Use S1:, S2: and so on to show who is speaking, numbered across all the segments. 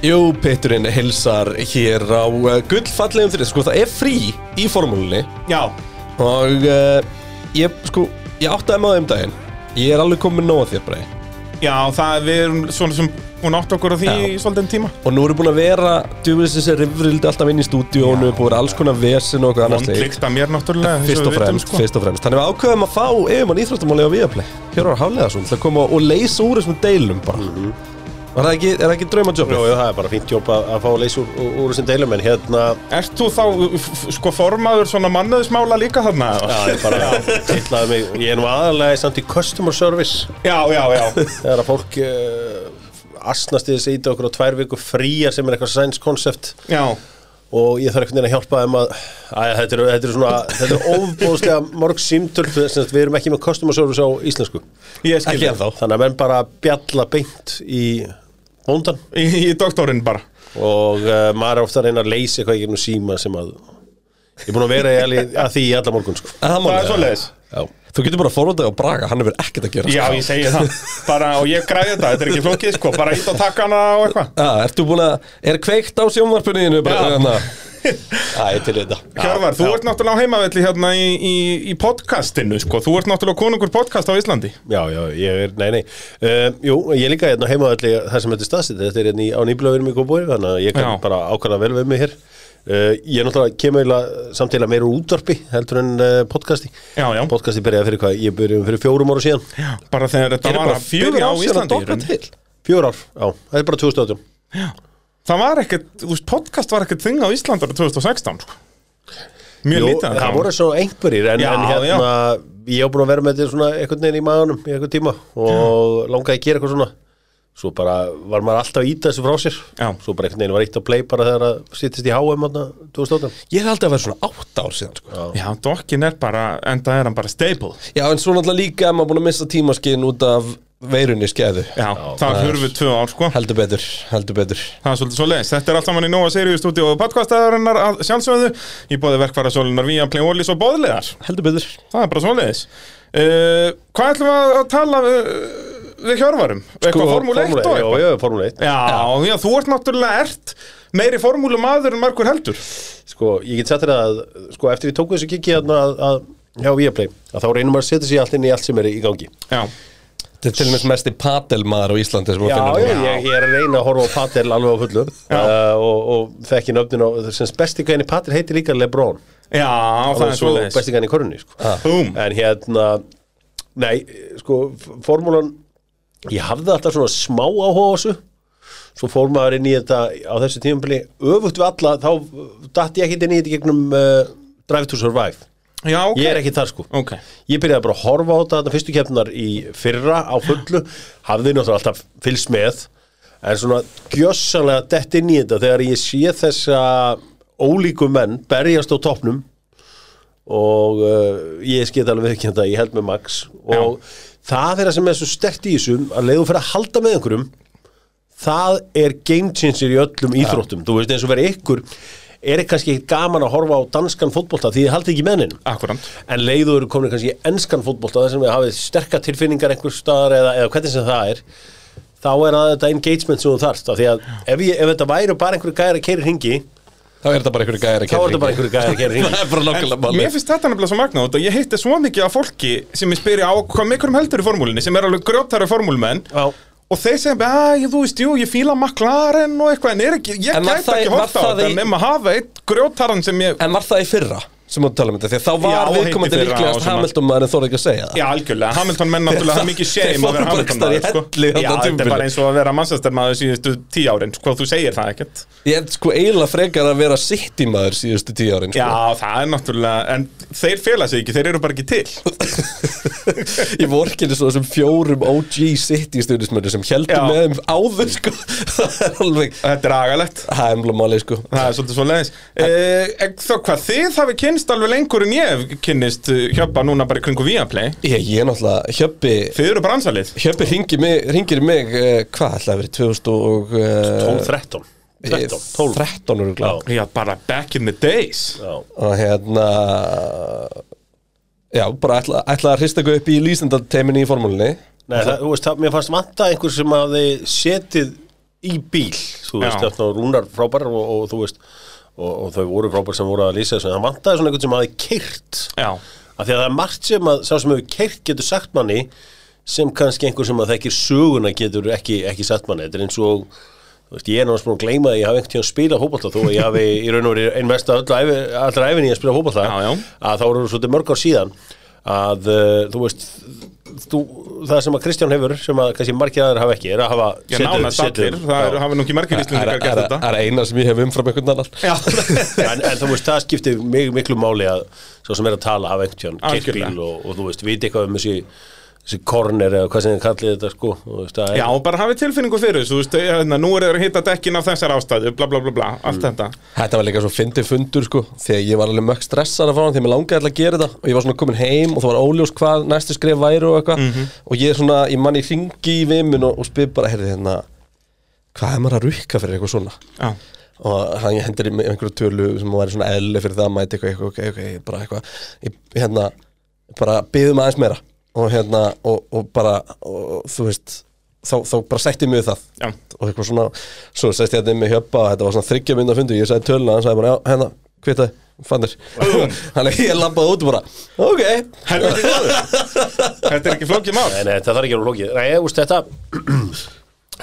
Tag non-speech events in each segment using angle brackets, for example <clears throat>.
S1: Jú, Petturinn hilsar hér á uh, gullfallegum þrið Sko, það er frí í formúlunni
S2: Já,
S1: Og uh, ég, sko, ég áttaði maður um daginn Ég er alveg komin nóg að þér, Brei
S2: já, það við erum svona sem hún átt okkur á því
S1: Já.
S2: í svolítið tíma
S1: Og nú erum búin að vera Djúfis þessi rifrildi alltaf inn í stúdíónu Búin að vera alls konar vesen og okkur annars slíkt.
S2: Vondlíkt að mér náttúrulega eins
S1: Fyrst og
S2: við vitum, sko.
S1: fremst, fyrst og fremst Þannig við ákveðum að fá yfirmann íþróttamáli á Viaplay Hjörvar Hafleðarsson til að koma og leysa úr þessum deilum bara
S2: Mhm.
S1: Var það ekki, er það ekki
S3: Jó,
S1: draumajobbið?
S3: jú, það er bara fínt jobb að, að fá að leysa úr, úr, úr þessum deilum en hérna
S2: Ert þú þá f- f- sko formaður svona mannöðismála líka þarna?
S3: já,
S2: eða?
S3: ég bara titlaði mig ég er nú aðalega samt í customer service
S2: Já, já, já
S1: <laughs>
S3: þegar að fólk uh, asnast í þessi íta okkur á tvær viku fríar sem er eitthvað science concept
S2: Já,
S3: og ég þarf einhvern veginn að hjálpa þeim að Æ, þetta eru þetta eru svona þetta eru ofbóðslega mörg símtöl sem sagt, við erum ekki með customer service á íslensku
S2: ég skil
S1: Ekki ennþá
S3: þannig að menn bara bjalla beint í vondan
S2: Í, í doktorinn bara
S3: og uh, maður er ofta að reyna að leysa eitthvað í gegnum síma sem að ég er búin að vera í alveg- að því í alla morgun sko.
S1: En
S2: Það
S1: málið,
S2: er
S1: ja.
S2: svoleiðis.
S1: Já. Þú getur bara að forvöldaði á Braga, hann hefur ekkert að gera
S2: Já,
S1: sko.
S2: ég segi
S1: <laughs>
S2: það bara, Og ég græði þetta, þetta er ekki flókið sko Bara ít á takkana og eitthvað
S1: Já, ertu búin að, er kveikt á sjónvarpunniðinu
S2: Já.
S1: bara? hérna?
S3: Æ, til þetta
S2: Hjörvar, þú ert náttúrulega á heimavelli hérna í, í, í podcastinu sko Þú ert náttúrulega konungur podcast á Íslandi
S3: Já, já, ég er, nei, nei uh, Jú, ég er líka hérna heima allir það sem þetta er staðsitt Þetta er hérna í- á nýblöðurum í Góðbúi Þannig að ég kann
S2: Já.
S3: bara ákvæða vel við mig hér uh, Ég er náttúrulega kemur eiginlega samtíla meira úr útvarpi heldur en uh, podcasti
S2: Já, já.
S3: Podcasti byrjaði fyrir hvað, ég byrjaði fyrir fjórum ára síðan
S2: Bara þegar þetta var að byrja á Íslandi í rauninni.
S1: til
S3: Fjör ár, já, það er bara 2018
S2: Það var ekkert, þú veist, podcast var ekkert þing á Íslandi árið 2016 sko Mjög
S3: Jú,
S2: lítið að
S3: það voru svo einhverjir En,
S2: Já,
S3: en hérna, ég á búin að vera með þetta svona einhvern veginn í maðanum í einhvern tíma Og langaði að gera eitthvað svona Svo bara var maður alltaf að íta þessu frá sér
S2: Já.
S3: Svo bara einhvern veginn var eitt að play bara þegar að sittist í HM þarna 2018
S1: Ég er aldrei að vera svona átt ár síðan sko.
S2: Já, dokkin er bara, enda er hann bara staple
S1: Já, en svo náttúrulega líka er maður búin að missa tímaskinn út af veirunni skeiðu
S2: Já, það hurfu tvö ár sko
S1: Heldur betur, heldur betur
S2: Það er svolítið svo leiðis. Þetta er allt saman í Nóa Sirius stúdíu og podcastaðarinnar að sjálfsögðu í bóði verkvarasólunar Vía Play Wallis og Bóðleðar.
S1: Heldur betur
S2: Það er bara svo leiðis. Uh, hvað ætlum við að tala við, við hjörvarum? Eitthvað formúli 1 og eitthvað?
S3: Sko, Já, já, formúli 1
S2: Sko, Já, já, þú ert náttúrulega ert meiri formúlu maður en margur heldur.
S3: Sko, ég get sagt þér að sko, eftir ég tók þessu kiki hérna að, að hjá Viaplay, að þá reynum maður að setja sig allt inn í allt sem er í gangi
S2: Já,
S1: Þetta er til og meins mest í padelmaður á Íslandi sem
S3: Já,
S1: að
S3: já,
S1: finna
S3: ég, ég er að reyna að horfa á Patel alveg á fullu uh, og, og þekki nöfnin á, sem besti gæni Patel heitir líka Lebron
S2: já, það er svo leiðis.
S3: besti gæni í korunni, sko
S2: Búm.
S3: En hérna, nei, sko, f- formúlan ég hafði alltaf svona smá áhuga á þessu svo fór maður inn í þetta á þessu tímabili öfugt við alla, þá datt ég ekkert inn í þetta í gegnum uh, Drive to Survive
S2: Já, ok.
S3: Ég er ekki þar sko
S2: Ok.
S3: Ég byrjaði bara að horfa á þetta þarna fyrstu keppnar í fyrra á fullu Hafði náttúrulega alltaf fylgst með En svona gjössanlega dett inn í þetta Þegar ég sé þessa ólíku menn berjast á toppnum Og uh, ég skit alveg ekki þetta, ég held með Max Og það er það sem er svo stert í þessum Að leiðu fyrir að halda með einhverjum það er game changer í öllum íþróttum þú veist eins og verið ykkur er kannski ekki gaman að horfa á danskan fótbolta því þið haldið ekki mennin
S2: Akkurant.
S3: en leiður eru komin kannski í enskan fótbolta þar sem við hafið sterka tilfinningar einhver staðar eða, eða hvernig sem það er þá er það þetta engagement sem þú þarft af því að ef, ég, ef þetta væri bara einhverju gæri að keiri hringi
S1: Þá er þetta bara einhverju gæri að
S3: þá er
S1: kenna
S3: þetta bara einhverju gæri að keiri
S1: <laughs>
S3: hringi
S1: Það er bara nákvæmlega máli
S2: Mér finnst þetta nefnilega svo magnað út og ég heitti svo mikið af fólki sem ég spyrir á hvað miklum heldur í formúlinni sem er alveg grjóttæra formúlumenn
S3: Já.
S2: og þeir segja bara, að þú veist, jú, ég fíla McLaren og eitthvað en er ekki, ég
S1: En var
S2: gæti
S1: það-
S2: ekki
S1: var
S2: horft á
S1: það
S2: þetta
S1: í-
S2: nema að hafa eitt grjóttaran sem ég
S1: En var það í fyrra sem þú tala um þetta? Því að þá var
S2: Já,
S1: viðkomandi
S2: heitt í fyrra og
S1: líklegast
S2: svona.
S1: Hamilton maður en þóra ekki að segja það
S2: Já, algjörlega, Hamilton menn náttúrulega það er mikið
S1: Þeir
S2: shame að
S1: fóru
S2: vera
S1: bara einhvers staðar í helli þarna
S2: Hamilton maður sko. Já, þetta er
S1: tímabilið.
S2: bara eins og að vera Manchester maður síðustu tíu árin sko, þú segir það ekkert
S1: Ég held sko eiginlega frekar að vera sitt maður síðustu tíu árin sko.
S2: Já, það er náttúrulega, en þeir fela sig ekki, þeir eru bara ekki til
S1: Ég voru ekki eins og þessum fjórum OG City stjórnismönnum sem heldur
S2: Já.
S1: með þeim áður sko <laughs> Það er alveg
S2: Þetta er agalegt
S1: Það er mjög máli sko
S2: Það er svolítið svo leiðis uh, Þó hvað, þið hafi kynst alveg lengur en ég hef kynnist eh, hjöppa núna bara í kringu Viaplay
S1: Ég, ég er náttúrulega Hjöppi
S2: Þið eru bransalið
S1: Hjöppi ringir mig, hringir í mig uh, Hvað ætlaði að vera 2000 og uh,
S3: 12, 13, 13, 12
S1: 13 eru gláð
S2: Já, bara back in the days
S3: Já.
S1: Og hérna Já, bara ætla, ætla að hrista eitthvað upp í lýsendateiminni í formúlinni
S3: Nei, það, þú veist, það, mér fannst vanta einhver sem hafi setið í bíl þú veist,
S2: Já.
S3: þetta var rúnar frábær og, og þú veist og, og þau voru frábær sem voru að lýsa þessu en það vantaði svona einhvern sem hafi keirt
S2: Já.
S3: af því að það er margt sem að sá sem hefur keirt getur sagt manni sem kannski einhver sem að þekkir söguna getur ekki, ekki sagt manni þetta er eins og þú veist, ég er náttúrulega búin að gleyma að ég hafi einhvern tíðan spilað fótbolta þó að ég hafi í raun og verið einn mest að öllu ævi- allra æfinni að spila fótbolta
S2: Já, já.
S3: að þá eru svolítið mörg ár síðan að uh, þú veist þú, það sem að Kristján hefur sem að kannski margir aðeir hafa ekki er að hafa
S2: Já, nánast allir, það er, hafa nú ekki margir
S1: Það
S2: íslendingar
S1: er-
S2: gert
S1: er-
S2: þetta
S1: er eina sem ég hef umfram einhvern annan
S3: en, en þú veist, það skiptir mig miklu máli að svo sem er að tala af einhvern keitt
S2: Algjörlega.
S3: bíl og, og þú veist, viti eitthvað um þessi, þessi corner eða hvað sem þið kallið þetta sko þú veist, það er-
S2: Já, bara hafið tilfinningu fyrir þessu, þú veist, hérna, nú er þeir að hitta dekkin af þessar ástæðu, bla bla bla bla, allt þetta.
S1: Þetta var líka svo fyndið fundur sko Þegar ég var alveg mökk stressar að fara hann Þegar mér langaði alltaf að gera þetta Og ég var svona komin heim og það var óljós hvað næstu skrif væri og eitthvað Og ég er svona, ég mann í ringi í vimin og, og spyr bara, heyrði hérna Hvað er maður að rukka fyrir eitthvað svona?
S2: Já.
S1: og hann hendur í mig einhverju tölu sem var svona eðli fyrir það að mæta eitthvað, eitthvað, eitthvað, eitthvað bara eitthvað, ég, hérna bara byðum aðeins meira og hérna, og, og bara og, þú veist, þá, þá bara sætti mig við það
S2: Já.
S1: og eitthvað svona, svo sætti ég þetta inn með hjöpa og þetta var svona þryggja mynd að fundu, ég sagði töluna hann sagði bara, já, hérna, hvitaði, fannir <laughs> hann er, ég labbaði út og bara, ok
S2: Helviti góður. Þetta er ekki flókið mál.
S3: Nei, nei, þetta þarf ekki að vera flókið Nei, þú veist, þetta <clears throat>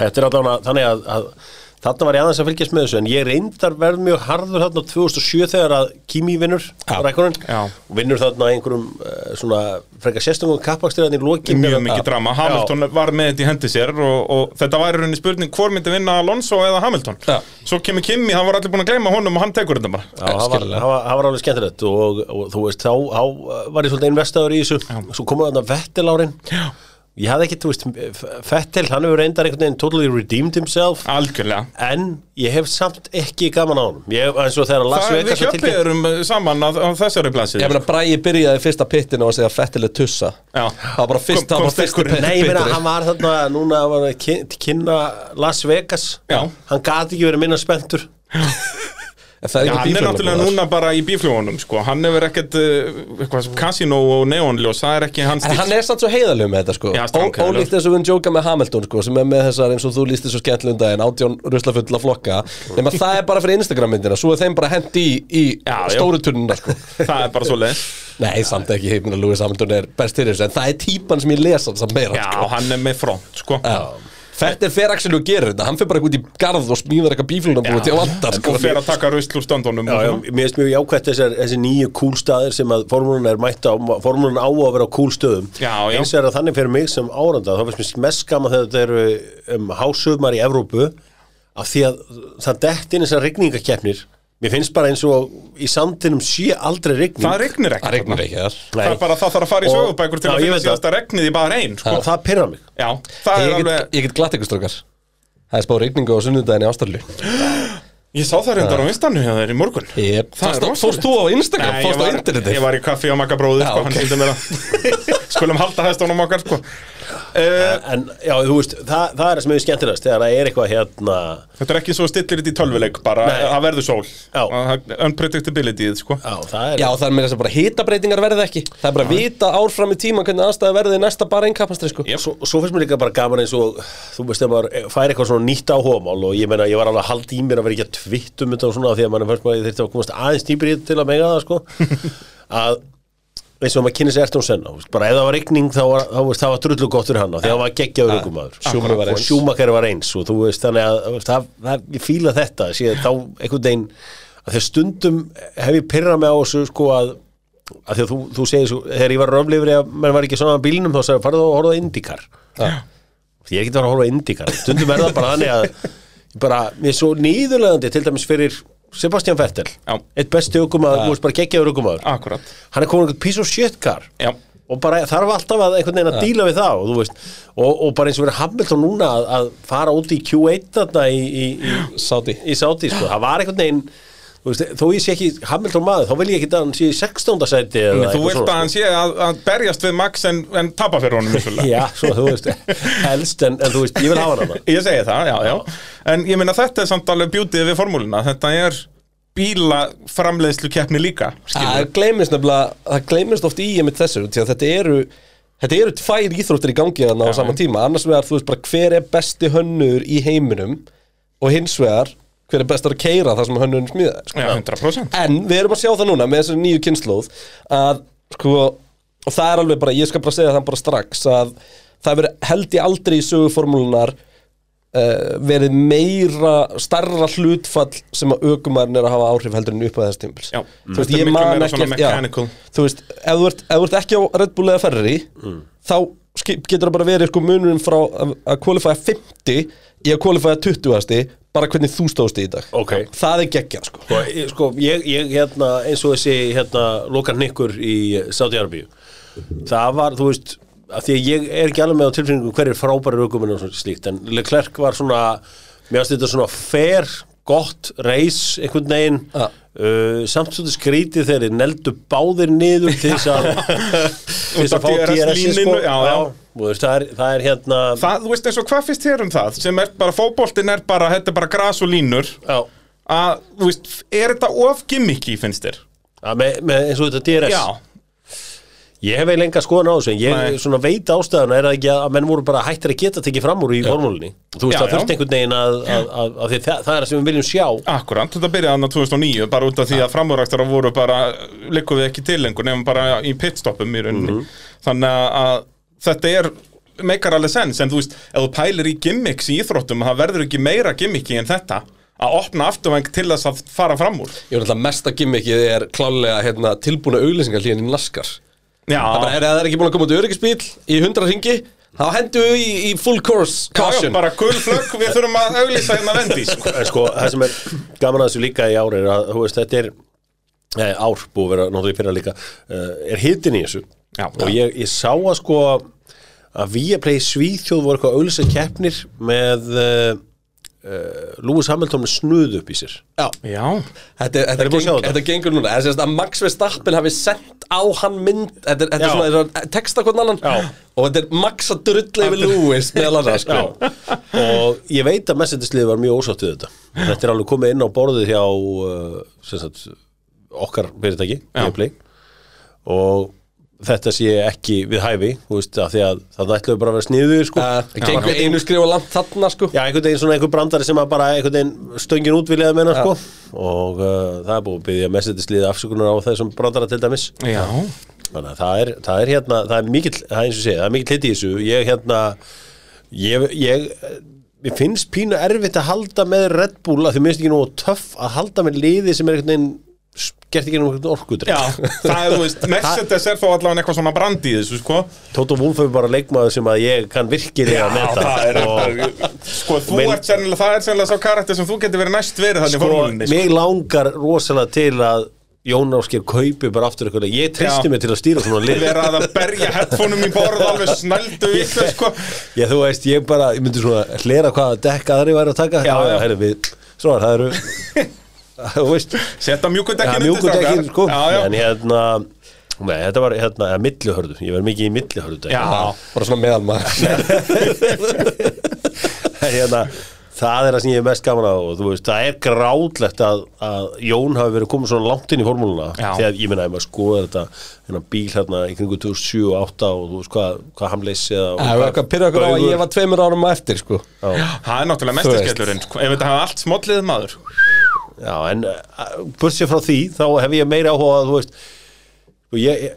S3: Þetta er allavega þannig að, að Þarna var ég aðeins að fylgjast með þessu En ég reyndar verð mjög harður þarna 2007 þegar að Kimi vinnur rækkunin
S2: Já.
S3: Og vinnur þarna einhverjum uh, svona frekar sérstöngum kappakstyrðan í loki
S2: Mjög mikið drama, Hamilton var með þetta í hendi sér og, og þetta var í rauninni spurning hvort myndi vinna Alonso eða Hamilton.
S1: Já.
S2: Svo kemur Kimi, hann var allir búin að gleyma honum og hann tekur þetta bara.
S3: Já, það var,
S1: Skiljanlega.
S3: það var, það var alveg skemmtilegt og, og þú veist, þá, þá var ég svolítið investaður í þessu Svo komur þarna Vettel árin Já. Ég hafði ekki, þú veist, Vettel, hann hefur reyndar einhvern veginn totally redeemed himself
S2: Algjörlega.
S3: En ég hef samt ekki gaman á honum Ég hef eins og þegar Las
S2: Það, við
S3: Vegas var tilkynnt-
S2: hjöpiðum saman að, að þessari
S1: ég
S2: blaðsíðu.
S1: meina, Bræði byrjaði fyrsta pittinu og að segja fettileg tussa
S2: Já.
S1: það var bara fyrst,
S2: Kom-
S1: það var
S2: komst
S1: fyrst
S2: einhverjum-
S3: Nei, ég meina, hann var þarna Núna var hann að kyn- kynna Las Vegas
S2: Já.
S3: Hann gati ekki verið minna spenntur
S2: Já, hann er náttúrulega núna bara í bíflugunum sko. hann hefur ekkert uh, eitthvað, kasino og neonljós, það er ekki hans
S1: En
S2: stíll.
S1: hann er samt svo heiðalegu með þetta sko
S2: Já,
S1: Ó-
S2: strákheiðarlegur.
S1: Ólíkt eins og við njóka með Hamilton sko sem er með þessar eins og þú líst þessu skemmtlum um daginn átjón ruslafulla flokka nema það er bara fyrir Instagram myndina svo er þeim bara hendi í, í
S2: Já, já.
S1: stóru turnuna sko
S2: það er bara svo leið
S1: <laughs> Nei, samt ekki, ég meina Lewis Hamilton er best til þessu en það er típan sem ég lesa samt meira
S2: Já,
S1: sko
S2: hann er með front sko.
S1: Þetta er fer Axel og gerir þetta, hann fer bara út í garð og smíðar eitthvað bíflunarbúið til að vanda sko
S2: og fer að taka rusl úr stöndunum
S3: Já, já,
S2: og-
S3: mér finnst mjög jákvætt þessar, þessi nýju kúlstaðir sem að formúlun er mætt á, formúlun á að vera á kúlstöðum
S2: Já, já.
S3: Eins er að þannig fyrir mig sem áranda þá finnst mér mest skama þegar þetta eru um, hásumar í Evrópu af því að það dett inn þessar rigningakeppnir Mér finnst bara eins og í sandinum sé aldrei rigning
S2: það regnir ekki
S1: Það regnir ekki þar
S2: það er bara það þarf að fara í
S3: Og-
S2: sögubækur til
S3: Já,
S2: að
S3: ég
S2: finna
S3: veit það.
S2: síðasta regnið í bara einn sko.
S3: og það pyrra mig
S2: já, það er
S1: Ég get-
S2: alveg
S1: Ég get glatt ykkur strókar Það er spáð regningu á sunnudaginn í Ástralju
S2: ég sá það reyndar á vinstanu hjá þeir í morgun
S1: Yep.
S2: Það
S1: Fórst-
S2: er rosalegt.
S1: Fóst þú á Instagram,
S2: Nei, ég
S1: fórst á
S2: var-
S1: internetið
S2: ég var í kaffi á makkabróðu
S1: Já,
S2: sko, hann
S1: ok.
S2: sýndi mér að skulum halda hæstónum okkar sko. uh,
S3: En já, þú veist, það, það er það sem er skemmtilegast þegar það er eitthvað hérna
S2: Þetta er ekki svo stillir þetta í tölvuleik bara,
S3: Nei.
S2: það verður sól
S3: Já.
S2: Það- Unpredictability, sko
S3: Já, það er
S1: Já, það er meira þess að bara hitabreitingar verða ekki Það er bara að vita árfram í tíma hvernig aðstæða verði í næsta bara einn kappastri sko
S2: Jep.
S3: Svo, svo finnst mér líka bara gaman eins og þú veist þegar maður fær eitthvað svona nýtt áhugamál og ég meina ég var alveg að halda í mér að vera ekki að tvittum þetta og svona því að mann fannst maður þurfti að komast aðeins dýpir í þetta til að mega það sko að eins og maður kynni sér Ertón Senna þú veist, bara ef það var rigning þá var, þá, veist, það var drullu gott fyrir hann því að það var geggjaður ykkumadur
S1: Schumacher var
S3: og
S1: eins.
S3: sjúmakar var eins og þú veist þannig að þú veist, það, það, ég fíla þetta sé, þá einhvern veginn að þegar stundum hef ég pyrrað mig á þessu sko að að því að þú, þú segir svo, þegar ég var röflifri að menn var ekki svona á bílnum þá sagði farðu og horfa á Indikar ég er ekki að fara að horfa á Indikar stundum er það bara þannig að ég bara, mér er svo nýðulegandi til dæmis fyrir Sebastian Vettel
S2: Já.
S3: eitt besti aukumaður, þú veist bara geggjaður aukumaður
S2: Akkurat
S3: hann er komin einhvern piece of shit car
S2: Já.
S3: og bara þarf alltaf að einhvern veginn að díla við það og, þú veist, og, og bara eins og verið Hamilton núna að, að fara út í Q1 þarna í, í, í,
S1: Sáti
S3: í Sáti sko. það var einhvern veginn þú veist, þó ég sé ekki Hamilton maður þá vil ég ekki að hann sé í 16. sæti eða
S2: Þú
S3: eitthvað sko.
S2: vilt
S3: svona,
S2: að hann sé að, að berjast við Max en, en tapa fyrir honum
S3: sko.
S2: vissulega.
S3: <laughs> já, svo þú veist, helst en, en þú veist, ég vil hafa hann hana
S2: Ég segi það, já, já En ég meina þetta er samt alveg bjútið við formúluna Þetta er bílaframleiðslu keppni líka
S1: Það
S2: skilurðu.
S1: gleymist nefnilega, það gleymist oft í einmitt þessu því að þetta eru Þetta eru tvær íþróttir í gangi þarna á sama tíma annars vegar þú veist bara hver er besti hönnur í heiminum og hins vegar hver er bestar að keira það sem hönnun smíðaði sko.
S2: Já, 100%
S1: en við erum að sjá það núna með þessari nýju kynnslóð að sko og það er alveg bara, ég skal bara segja það bara strax að það verið held ég aldrei í söguformúlunar uh, verið meira starra hlutfall sem að aukumærin er að hafa áhrif heldur en upp að þess tímpils
S2: Já.
S1: þú veist,
S2: Þetta er
S1: ég
S2: miklu
S1: man
S2: meira
S1: ekki
S2: svona
S1: eftir- já.
S2: mechanical.
S1: þú veist, ef þú ert, ef þú ert ekki á Red Bull eða Ferrari
S2: Mm.
S1: þá skip- getur það bara verið sko munurinn frá að að kvalifæða 50 í að kvalifæða 20 bara hvernig þú stóðst í dag
S3: Ok.
S1: það er geggjað sko
S3: Sko, ég- sko ég, ég hérna eins og þessi hérna lokan ykkur í Saudi-Arabíu það var, þú veist að því að ég er ekki alveg með á tilfinningum hverju frábæri aukuminn og svona slíkt en Leclerc var svona, mér finnst þetta svona fair, gott, reis einhvern veginn
S1: Ja.
S3: uh, samt svona skrítið þeirri, neldu báðir niður til
S2: <laughs>
S3: þess að til þess að fá
S2: Út af DRS
S3: DRS-ið sko
S2: líninu, já, já.
S3: þú Veist, það, er, það er hérna
S2: Það, þú veist eins og hvað finnst þér um það sem er bara, fótboltin er bara, þetta er bara gras og línur
S3: já,
S2: að, þú veist, er þetta of gimmicky finnst þér?
S3: að með, með eins og þetta DRS
S2: Já,
S3: Ég hef eiginlega enga skoðan á þessu en ég
S2: Nei.
S3: svona veit ástæðuna er það ekki að að menn voru bara hættir að geta tekið fram úr í formúlinni Þú veist
S2: Já,
S3: það
S2: já.
S3: þurfti einhvern veginn að, að, að, að því það, það er það sem við viljum sjá
S2: akkurant, þetta byrjaði annað 2009 bara út af því að framúræktara voru bara likum við ekki til lengur nefnum bara í pitstoppum í rauninni
S1: Mhm.
S2: þannig að- að þetta er meikar alveg sens, en þú veist, ef þú pælir í gimmicks í íþróttum, það verður ekki meira gimmicky en þetta, að opna afturvæng til þess að fara fram úr
S1: Ég var alltaf mesta gimmickið er klálega hérna, tilbúna auglýsingarlíðin í naskar
S2: Já,
S1: Það bara er að það er ekki búin að koma út öryggisbíl í 100 ringi þá hendur við í, í full course
S2: já, já,
S1: caution
S2: bara gul flögg, við þurfum að auglýsa hérna vendi sko.
S3: En sko, það sem er gaman að þessu líka í ári er að þú veist, þetta er eh, ár búið að vera náttúrulega í fyrra líka eh, er hitin í þessu
S2: Já.
S3: og ég, ég sá að sko að Viaplay í Svíþjóð voru eitthvað auðlýsa keppnir með uh, uh, Lúis Hamilton með snuð upp í sér
S1: <laughs> já.
S2: Já,
S1: Þetta, þetta,
S3: búin að
S1: geng,
S3: sjá þetta?
S1: þetta gengur núna Það sést að Max Verstappen hafi sendt á hann mynd Þetta, er- þetta
S3: Já.
S1: er svona þessar texta hvern annan
S3: Já.
S1: og þetta er Max að drulla yfir Lewis meðal annars sko.
S3: Já, og ég veit að messendislið var mjög ósátt við þetta Þetta er alveg komið inn á borðið hjá uh, sem sagt, okkar fyrirtæki Viaplay. og þetta sé ekki við hæfi þú veist, að því að það ætlaðu bara að vera sniður sko.
S1: Uh, gengur einu skrifa langt þarna sko.
S3: Já, einhvern veginn svona einhver brandari sem að bara einhvern veginn stöngin út viljaði meina sko. og uh, það er búið að byggja messendislið afsökunar á þessum brandara til dæmis
S2: já
S3: Þannig að það er, það er hérna, það er mikill, það er eins og segja, það er mikill hitt í þessu. Ég hérna, ég, ég, ég finnst pínu erfitt að halda með Red Bull að því minnst ekki nú töff að halda með liði sem er einhvern veginn, s- gert ekki nú einhvern
S2: Já,
S3: orkudreik.
S2: það er, þú veist, Mercedes er þó allavega eitthvað svona brand í þessu, sko
S3: Tóto Wolf er bara leikmaður sem að ég kann virkilega að meta. og,
S2: Sko, þú
S3: Minn-
S2: ert sennilega, það er sennilega sá karakter sem þú getur verið næst verið þannig
S3: sko,
S2: formúlinni, sko
S3: mig langar rosalega til að Jón Áskir kaupi bara aftur eitthvað, ég tristi
S2: Já.
S3: mig til að stýra svona lið.
S2: Verið að berja headphoneum í borð alveg snældu við, sko
S3: Já, þú veist, ég bara, ég myndi svona hlera hvaða dekk aðri væri að taka
S2: Já, já.
S3: herri, við, Svona, það eru
S2: <laughs>
S3: <laughs> Þú veist
S2: Setta
S3: Það
S2: mjúkudekkin
S3: er mjúkur dekkin, sko
S2: Já, já,
S3: En hérna, nei, þetta var hérna, eða millihörðu Ég var mikið í millihörðu dekk
S2: já
S1: bara svona meðal maður
S3: <laughs> hérna, Það er það sem ég er mest gaman að og þú veist, það er grátlegt að, að Jón hafi verið komið svona langt inn í formúluna
S2: Já.
S3: þegar ég meina, ef maður skoða þetta hérna bíl hérna í kringu 2007 og 2008 og þú veist hvað, hvað hamleys eða og
S1: Það var eitthvað að pyrra okkur á að ég var tveimur árum á eftir sko.
S2: Það er náttúrulega
S1: Þú veist.
S2: mestiskellurinn, sko Ef þetta hafa allt smollið maður
S3: Já, en uh, bursið frá því, þá hef ég meira áhuga að, þú veist, og ég, ég,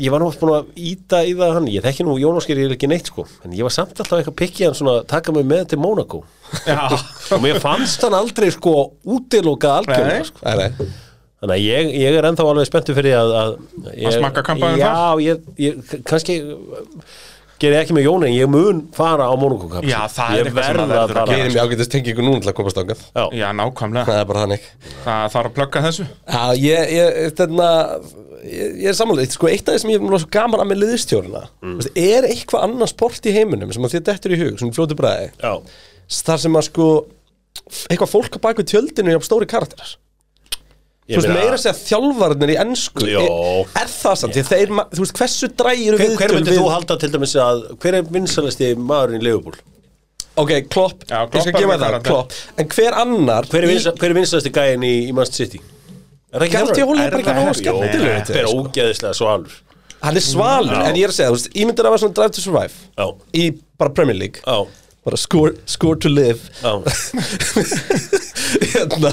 S3: ég var nú oft búin að íta í það hann, ég þekki nú Jónaskir ég ekki neitt, sko, en ég var samt alltaf eitthvað pikkið hann svona, taka mig með til Mónakó.
S2: Já,
S3: Og mér fannst hann aldrei, sko,
S2: Nei.
S3: útilokað algjörlega, sko.
S1: Nei, nei.
S3: Þannig að ég, ég er ennþá alveg spenntu fyrir að... Að, ég,
S2: Að smakka kampavín
S3: Já,
S2: þar?
S3: ég, ég, kannski uh, ger ég ekki með Jón, en ég mun fara á Mónakó-kamp.
S2: Já, það er
S3: Ég
S2: eitthvað sem
S3: verð
S2: maður
S3: að
S2: verður að
S3: fara.
S1: Ég er mjög ágætist tengingu núna til að komast ángað
S3: Já.
S2: já, nákvæmlega
S1: Það er bara þannig
S2: Það þarf að plugga þessu
S1: Já, ég, ég, þarna, ég, ég er samanlega, sko, eitt af því sem ég er mjög svo gaman að með liðstjórna mm. er eitthvað annað sport í heiminum sem að þér dettur í hug, svona í fljótu bræði
S3: Já,
S1: þar sem að sko, eitthvað fólk að baka tjöldinu er stóri karakterar Þú
S3: ég
S1: veist,
S3: meina-
S1: meira að segja þjálfarnir í ennsku
S3: Jó.
S1: er, er það samt, því að þeir, ma- þú veist, hversu drægir
S3: Hver, hver myndir þú halda til dæmis að hver er vinsalasti maðurinn í Leopold?
S1: Ok, klopp,
S2: Já,
S1: ég skal
S2: Klopp er
S1: gefa
S2: mjög
S1: það,
S2: karakter.
S1: klopp En hver annar
S3: Hver er,
S1: í-
S3: vinsa, hver er vinsalasti gæinn í, í Manchester City? Er það ekki
S1: Gardi Hólm er bara eitthvað nógu
S3: Jó,
S1: skemmtilegur
S3: þetta er ógeðislega svo alveg
S1: Hann er svalur, en ég er að segja, þú veist, ímyndir að vera svona Drive to Survive
S3: Já,
S1: í bara Premier League
S3: já,
S1: bara score, score to live
S3: Já.
S1: <laughs> hérna,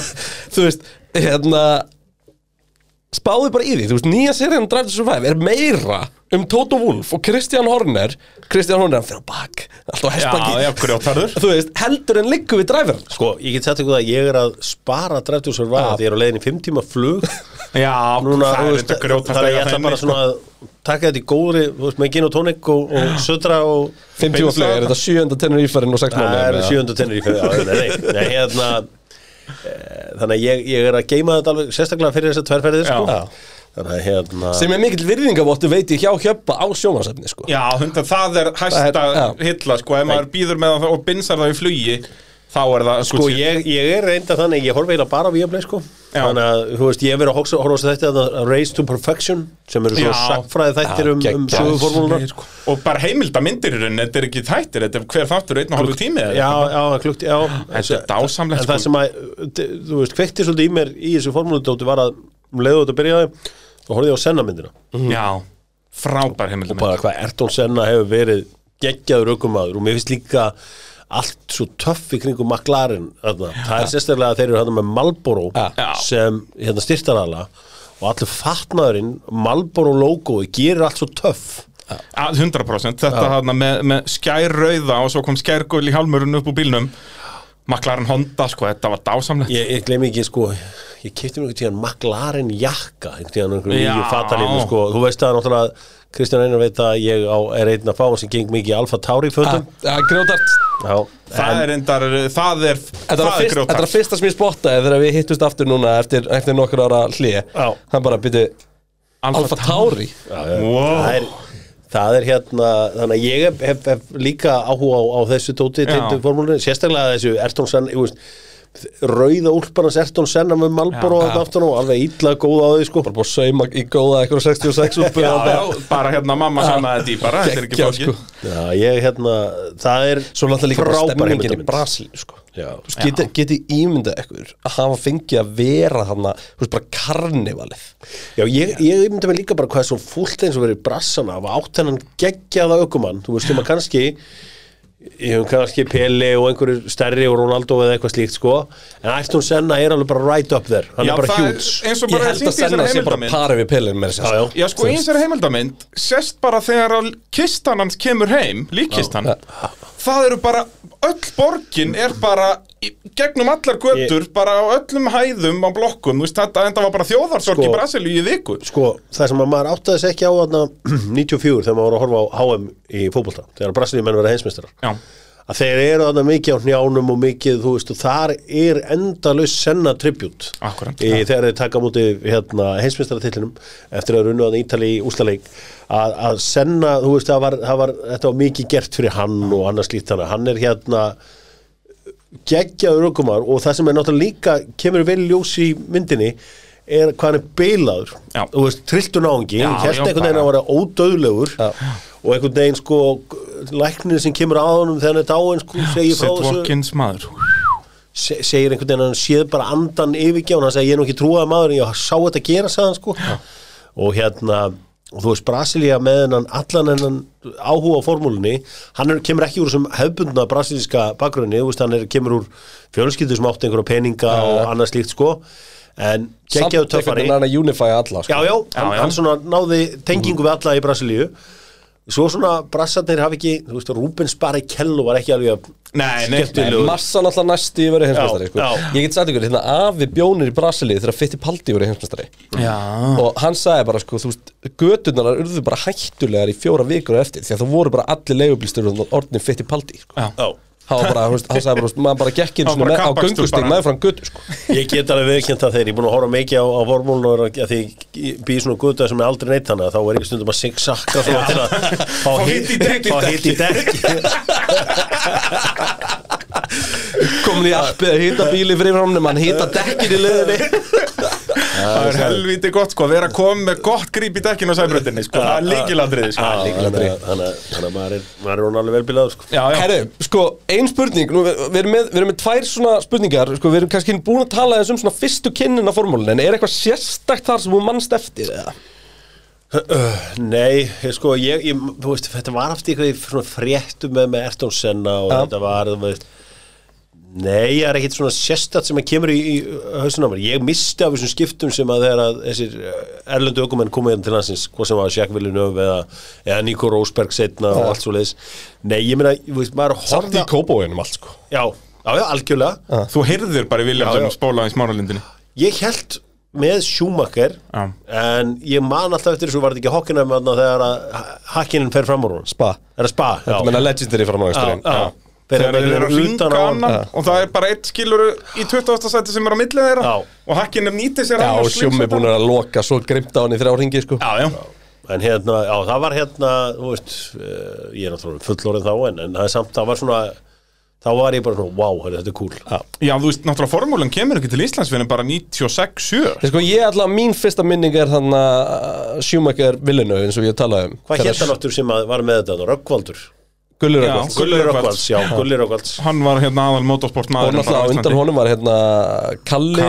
S1: þú veist hérna spáðu bara í því, þú veist, nýja serían Drive to Survive er meira um Toto Wolff og Christian Horner Christian Horner, hann fyrir á bak, alltaf á hestbaki
S2: Já, já, grjótarður.
S1: þú veist, heldur en liggur við driver
S3: Sko, ég get sagt ykkur það að ég er að spara Drive to Survive því ég er á leiðin í fimm tíma flug
S2: Já,
S3: <laughs> Núna,
S2: það
S3: þú
S2: er
S3: veist,
S2: þetta grjótast
S3: þannig að ég ætla bara svona að taka þetta í góðri, þú veist, með gin og tónik og, og södra og
S1: 50 og flug, er þetta 7. tennur ífærin og 6
S3: það
S1: mánuðir
S3: er
S1: eða?
S3: sjöndu tennir í fyrir ára, nei, nei, nei, hérna e, þannig að ég, ég er að geima þetta alveg sérstaklega fyrir þessar tværferðir, sko
S2: Já.
S3: þannig að hérna
S1: sem er mikill virðingavottu veit ég hjá hjöppa á sjónvarsefni sko.
S2: Já, hundar, það er hæsta
S1: Það er- já.
S2: hilla, sko, ef maður býður með það og binsar það í flugi, þá er það,
S3: Sko, ég, ég er reynda þannig, ég horfa eiginlega bara á Viaplay, sko
S2: Já.
S3: Þannig að, þú veist, ég hef verið að horfa horfa á þessi þetta að Race to Perfection sem eru
S2: Já.
S3: svona sakfræði þættir
S1: Já,
S3: um, um
S1: geggjað.
S3: söguformúluna
S2: sko. og bara heimilda myndir í rauninni, þetta er ekki þættir, þetta er hver þáttur einn og halvu tími eða
S3: Já, já, klukkt, já
S2: Þetta er dásamlegt,
S3: En það
S2: sko.
S3: sem að, d- þú veist, kveikti svolítið í mér í þessu formúludóti var að um leiðu þetta byrjaði og horfði ég á Senna myndina
S2: eitthvað. Já, frábær heimilda
S3: og bara hvað Erton Senna hefur verið geggjaður aukumaður og mér finnst líka allt svo töff í kringum McLaren þarna. það er sérstaklega að þeir eru hann með Marlboro
S2: Já.
S3: sem hérna styrtarala og allir fatnaðurinn Marlboro logoið gerir allt svo töff
S2: Að 100% þetta hana með, með skærrauða og svo kom skærgul í halmurinn upp úr bílnum maklarinn Honda, sko, þetta var dásamlegt
S3: Ég, ég gleymi ekki sko Ég kipti mér einhvern tíðan McLaren jakka einhvern tíðan einhvern
S2: Já.
S3: nýju fatalínu sko Þú veist að náttúrulega Kristján Einar veit að ég á, er einn að fá sem geng mikið í Alfa Tauri fötum
S1: Já, grjótart
S3: Já,
S2: Ah. það er endar, það er
S1: Þetta
S2: það
S1: var, fyrst, þetta var fyrsta sem ég spottaði þegar við hittust aftur núna eftir, eftir nokkur ára hlið
S3: Já.
S1: Hann bara byrju Alfa Tauri
S3: það
S2: wow.
S3: er, það er hérna Þannig að ég hef, hef, hef líka áhuga á, á þessu tóti
S2: Já.
S3: tindu formúlinu Sérstaklega þessu Erton Senna ég veist, Rauða úlparnas Erton Senna með Malboro og aftan og alveg illa góða á því sko
S1: Bara búið að sauma í góða eitthvað 66 út
S2: já,
S1: búið að
S2: já, bara hérna mamma samaði þetta í bara þetta er ekki
S1: Geggjað,
S2: flókið
S1: sko.
S3: Já, ég hérna, það er
S1: Svo náttúrulega líka bara
S3: frábær
S1: stemningin í
S3: heimildarmynd.
S1: Brasil sko.
S3: Já.
S1: Þú veist, Geti, geti ímyndað ekkur að hafa fengið að vera þarna Þú veist bara karnivalið
S3: Já, ég, ég myndi mig líka bara hvað er svo fullt eins og verið í brassana af átt hennan geggjaða ökumann þú veist, sem að kannski ég hef kannski Pele og einhverju stærri og Ronaldo eða eitthvað slíkt, sko en Ayrton Senna er alveg bara right up there hann
S2: Já,
S3: er bara
S2: það er
S3: hjúts
S2: eins og
S1: Ég
S2: bara
S1: held að
S2: sýnt í þessari
S1: senna sé bara
S2: heimildamynd.
S1: parið við pilin með
S3: Já, já.
S1: þess
S2: Já sko,
S1: Þú
S2: eins
S1: veist.
S2: er heimildamind Sest bara þegar að kistan hans kemur heim Líkkistan Það eru bara, öll borgin er bara í- Gegnum allar götur Bara á öllum hæðum á blokkum þú veist, Þetta enda var bara þjóðarsorg
S3: Sko.
S2: í Brasilíu í viku
S3: sko, það sem að maður áttaði sig ekki á þarna <clears throat> 94 þegar maður var að horfa á HM í fótbolta, þegar brassilíumenn verða heimsmeistarar
S2: Já,
S3: að þeir eru þarna mikið á hnjánum og mikið, þú veist, og þar er endalaus senna tribut
S2: Akkúrat,
S3: í,
S2: já.
S3: þegar þeir taka á móti hérna, heimsmyndstaratillinum eftir að runnu að Ítali í úslaleik að, að senna, þú veist, það var, það var, þetta var mikið gert fyrir hann og annars slíkt þannig, að hann er hérna geggjaður ökumar og það sem er náttúrulega líka kemur vel í ljós í myndinni er hvað hann er beilaður
S2: Já.
S3: þú veist, trilltun á hengi,
S2: Já,
S3: hérst
S2: já,
S3: einhvern veginn
S2: bara.
S3: að vera ódöðlegur og einhvern veginn sko læknir sem kemur að honum þegar hann er dáin sko, segir frá
S2: Seth
S3: þessu,
S2: Watkins maður
S3: se- segir einhvern veginn að hann séð bara andan yfirgjána, hann segir ég er nú ekki trúaði maður en ég sá þetta gera, sagði hann sko og hérna, og þú veist Brasilia með hennan, allan hennan áhuga á formúlunni, hann er, kemur ekki úr þessum hefbundna brasilíska bakgrunni þú veist, hann er, kemur úr fjölskyldu sem átt einhverja peninga og annað slíkt sko en
S1: Samt
S3: geggjaðu
S1: einhvern
S3: töffari
S1: veginn hann að unifya alla sko.
S3: já, já, hann,
S2: Já, já.
S3: hann svona náði tengingu við alla í Brasilíu svo svona brassarnir hafi ekki, þú veist, Rúbens bara í kellu var ekki alveg að
S2: Nei, nei,
S1: Nei,
S3: skemmtilegur.
S1: Massa náttúrulega næsti verið heimsmeistari
S3: Já,
S1: sko.
S3: já.
S1: Ég get sagt ykkur, hérna afi bjónir í Brasilíu þegar Fittipaldi verið heimsmeistari
S2: Já
S1: og hann sagði bara, sko, þú veist, göturnar urðu bara hættulegar í fjóra vikur á eftir því að það voru bara allir leigubílstur og orðin Fittipaldi sko.
S2: Já.
S3: Já.
S1: hann, var bara, þú veist, hann sagði bara, þú veist, maður bara gekk inn
S2: Hann var bara
S1: með, á
S2: kappakstur
S1: göngustík
S2: bara.
S1: meðfram götu sko.
S3: Ég get alveg viðkjönt það þegar ég er búin að horfa mikið á, á formúlun og er að- að því ég býð svona guta sem er aldrei neitt hana þá er ég stundum að sigsakka svona til að fá
S2: hitt í dekk.
S3: fá hitt í dekk
S1: komin í appið að hýta bíli fyrir framnum hann hýta dekkin í liðinni
S2: Það er helviti gott sko að vera kom með gott gríp í dekkinu á sæbröndinni sko, það er líkilandriði sko.
S3: Já, Þannig að- þannig að þannig að maður er maður er hún alveg velbilaður sko
S2: Já, já,
S1: Herru, sko, ein spurning nú, við, við, erum með, við erum með tvær svona spurningar sko, Við erum kannski búin að tala þess um svona fyrstu kynnin af formúlun En er eitthvað sérstakt þar sem þú mannst eftir eða?
S3: Nei, ég- sko, ég, ég, þú veist, þetta var aftur eitthvað í svona fréttum með, með Ayrton Senna og
S1: Já.
S3: þetta var, þú veist, nei, ég er ekkit svona sérstætt sem að kemur í, í hausunum. Ég misti af þessum skiptum sem að þegar að þessir eh, erlendu ökumenn komið hérna til landsins, hvað sem var Jack Villeneuve eða, eða Nico Rosberg setna og allt svo leiðis. Nei, ég meina, þú veist, maður
S1: Samt
S3: horfði,
S1: í kóbóinum allt sko
S3: já, já, já, algjörlega.
S2: Þú heyrðir bara í
S3: Já, já.
S2: Viljámsson spóla í smáralindinni
S3: Ég held með Schumacher
S2: Já.
S3: en ég man alltaf eftir þessu var þetta ekki hokkina með hann þegar að hakkinin fer fram úr hún
S1: Spa
S3: Er það spa?
S1: Þetta menna legendary framhægsturinn
S3: já, já. Þeir
S2: Þegar
S3: eru
S2: þeir eru að
S3: utan
S2: hringa
S3: á hann.
S2: annan og það er bara eitt skilur í 28. sæti sem er á millið þeirra
S3: Já.
S2: og hakkinum nýtir sér
S1: Já,
S2: hann og
S1: sjómi
S2: slingshottar.
S1: búin að loka svo grimt á hann í þrjá ringi sko
S2: Já, já,
S3: En hérna, já, það var hérna, þú veist, uh, ég er náttúrulega fullorinn þá en, en það er samt, það var svona, þá var ég bara svona, wow, heyrðu, þetta er cool. Já.
S2: já, þú veist, náttúrulega formúlan kemur ekki til Íslands fyrir bara 96-7
S1: Ég sko, ég allavega, mín fyrsta minning er þannig að Schumacher villinu eins og ég talaði um
S3: Hvað hérna náttúrulega sem að var með þetta, Röggvaldur?
S1: Gullur
S2: Já,
S1: Og
S2: Gulli
S3: Gulli
S2: Rögnvalds.
S3: Röggvalds, já, Gulli Röggvalds.
S2: Hann var hérna aðal motorsport maður
S1: náttúrulega á undan honum var hérna Kalli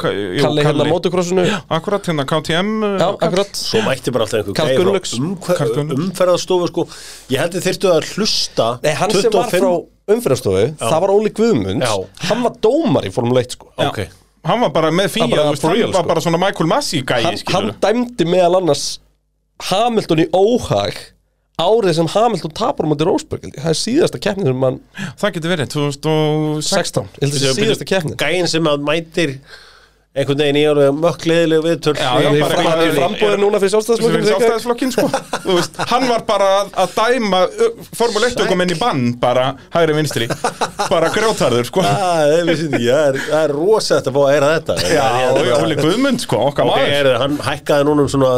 S2: Kalli,
S1: Kalli hérna motocrossinu Já,
S2: Akkurat, hérna KTM Já,
S1: akkurat
S3: Svo mætti bara alltaf einhver
S1: Karl
S3: gæi frá
S1: Gunnlaugs.
S3: umhver-
S2: Karl Gunnlaugs.
S3: umferðarstofu sko Ég held þið þyrftu að hlusta
S1: Nei, hann sem var frá umfyrirstofu Það var Óli Guðmunds
S3: Já.
S1: Hann var dómar í Formule 1 sko
S3: Já. Ok.
S2: Hann var bara með fíja,
S1: Hann bara
S2: þú veist,
S1: for
S2: hann
S1: real,
S2: var
S1: sko.
S2: bara svona Michael Massey gæi,
S1: hann, hann
S2: skilur
S1: dæmdi meðal annars Hamilton í óhag árið sem Hamilton tapar á móti Rósberg það er síðasta keppnin sem hann
S2: Það getur verið, 2006
S1: 16, ég held að það sé síðasta keppnin
S3: Gæin sem að mætir einhvern veginn í alveg mökkleðilegu viðtöl
S2: Já, já,
S1: Hann
S2: bara-
S1: er í frambúðin núna fyrir
S2: Þessu fyrir
S1: sjálfstæðismökkun
S2: sjálfstæðisflokkin sko <laughs> Þú veist, Hann var bara að- að dæma Formule 1 okkur menn í bann bara hægri vinstri Bara grjótarður sko Já,
S3: Ah, það er vissi því, það er- það er rosalegt að fá að heyra þetta
S2: og Óli Guðmund sko, okkar
S3: Ok,
S2: maður
S3: er, hann hækkaði núna um svona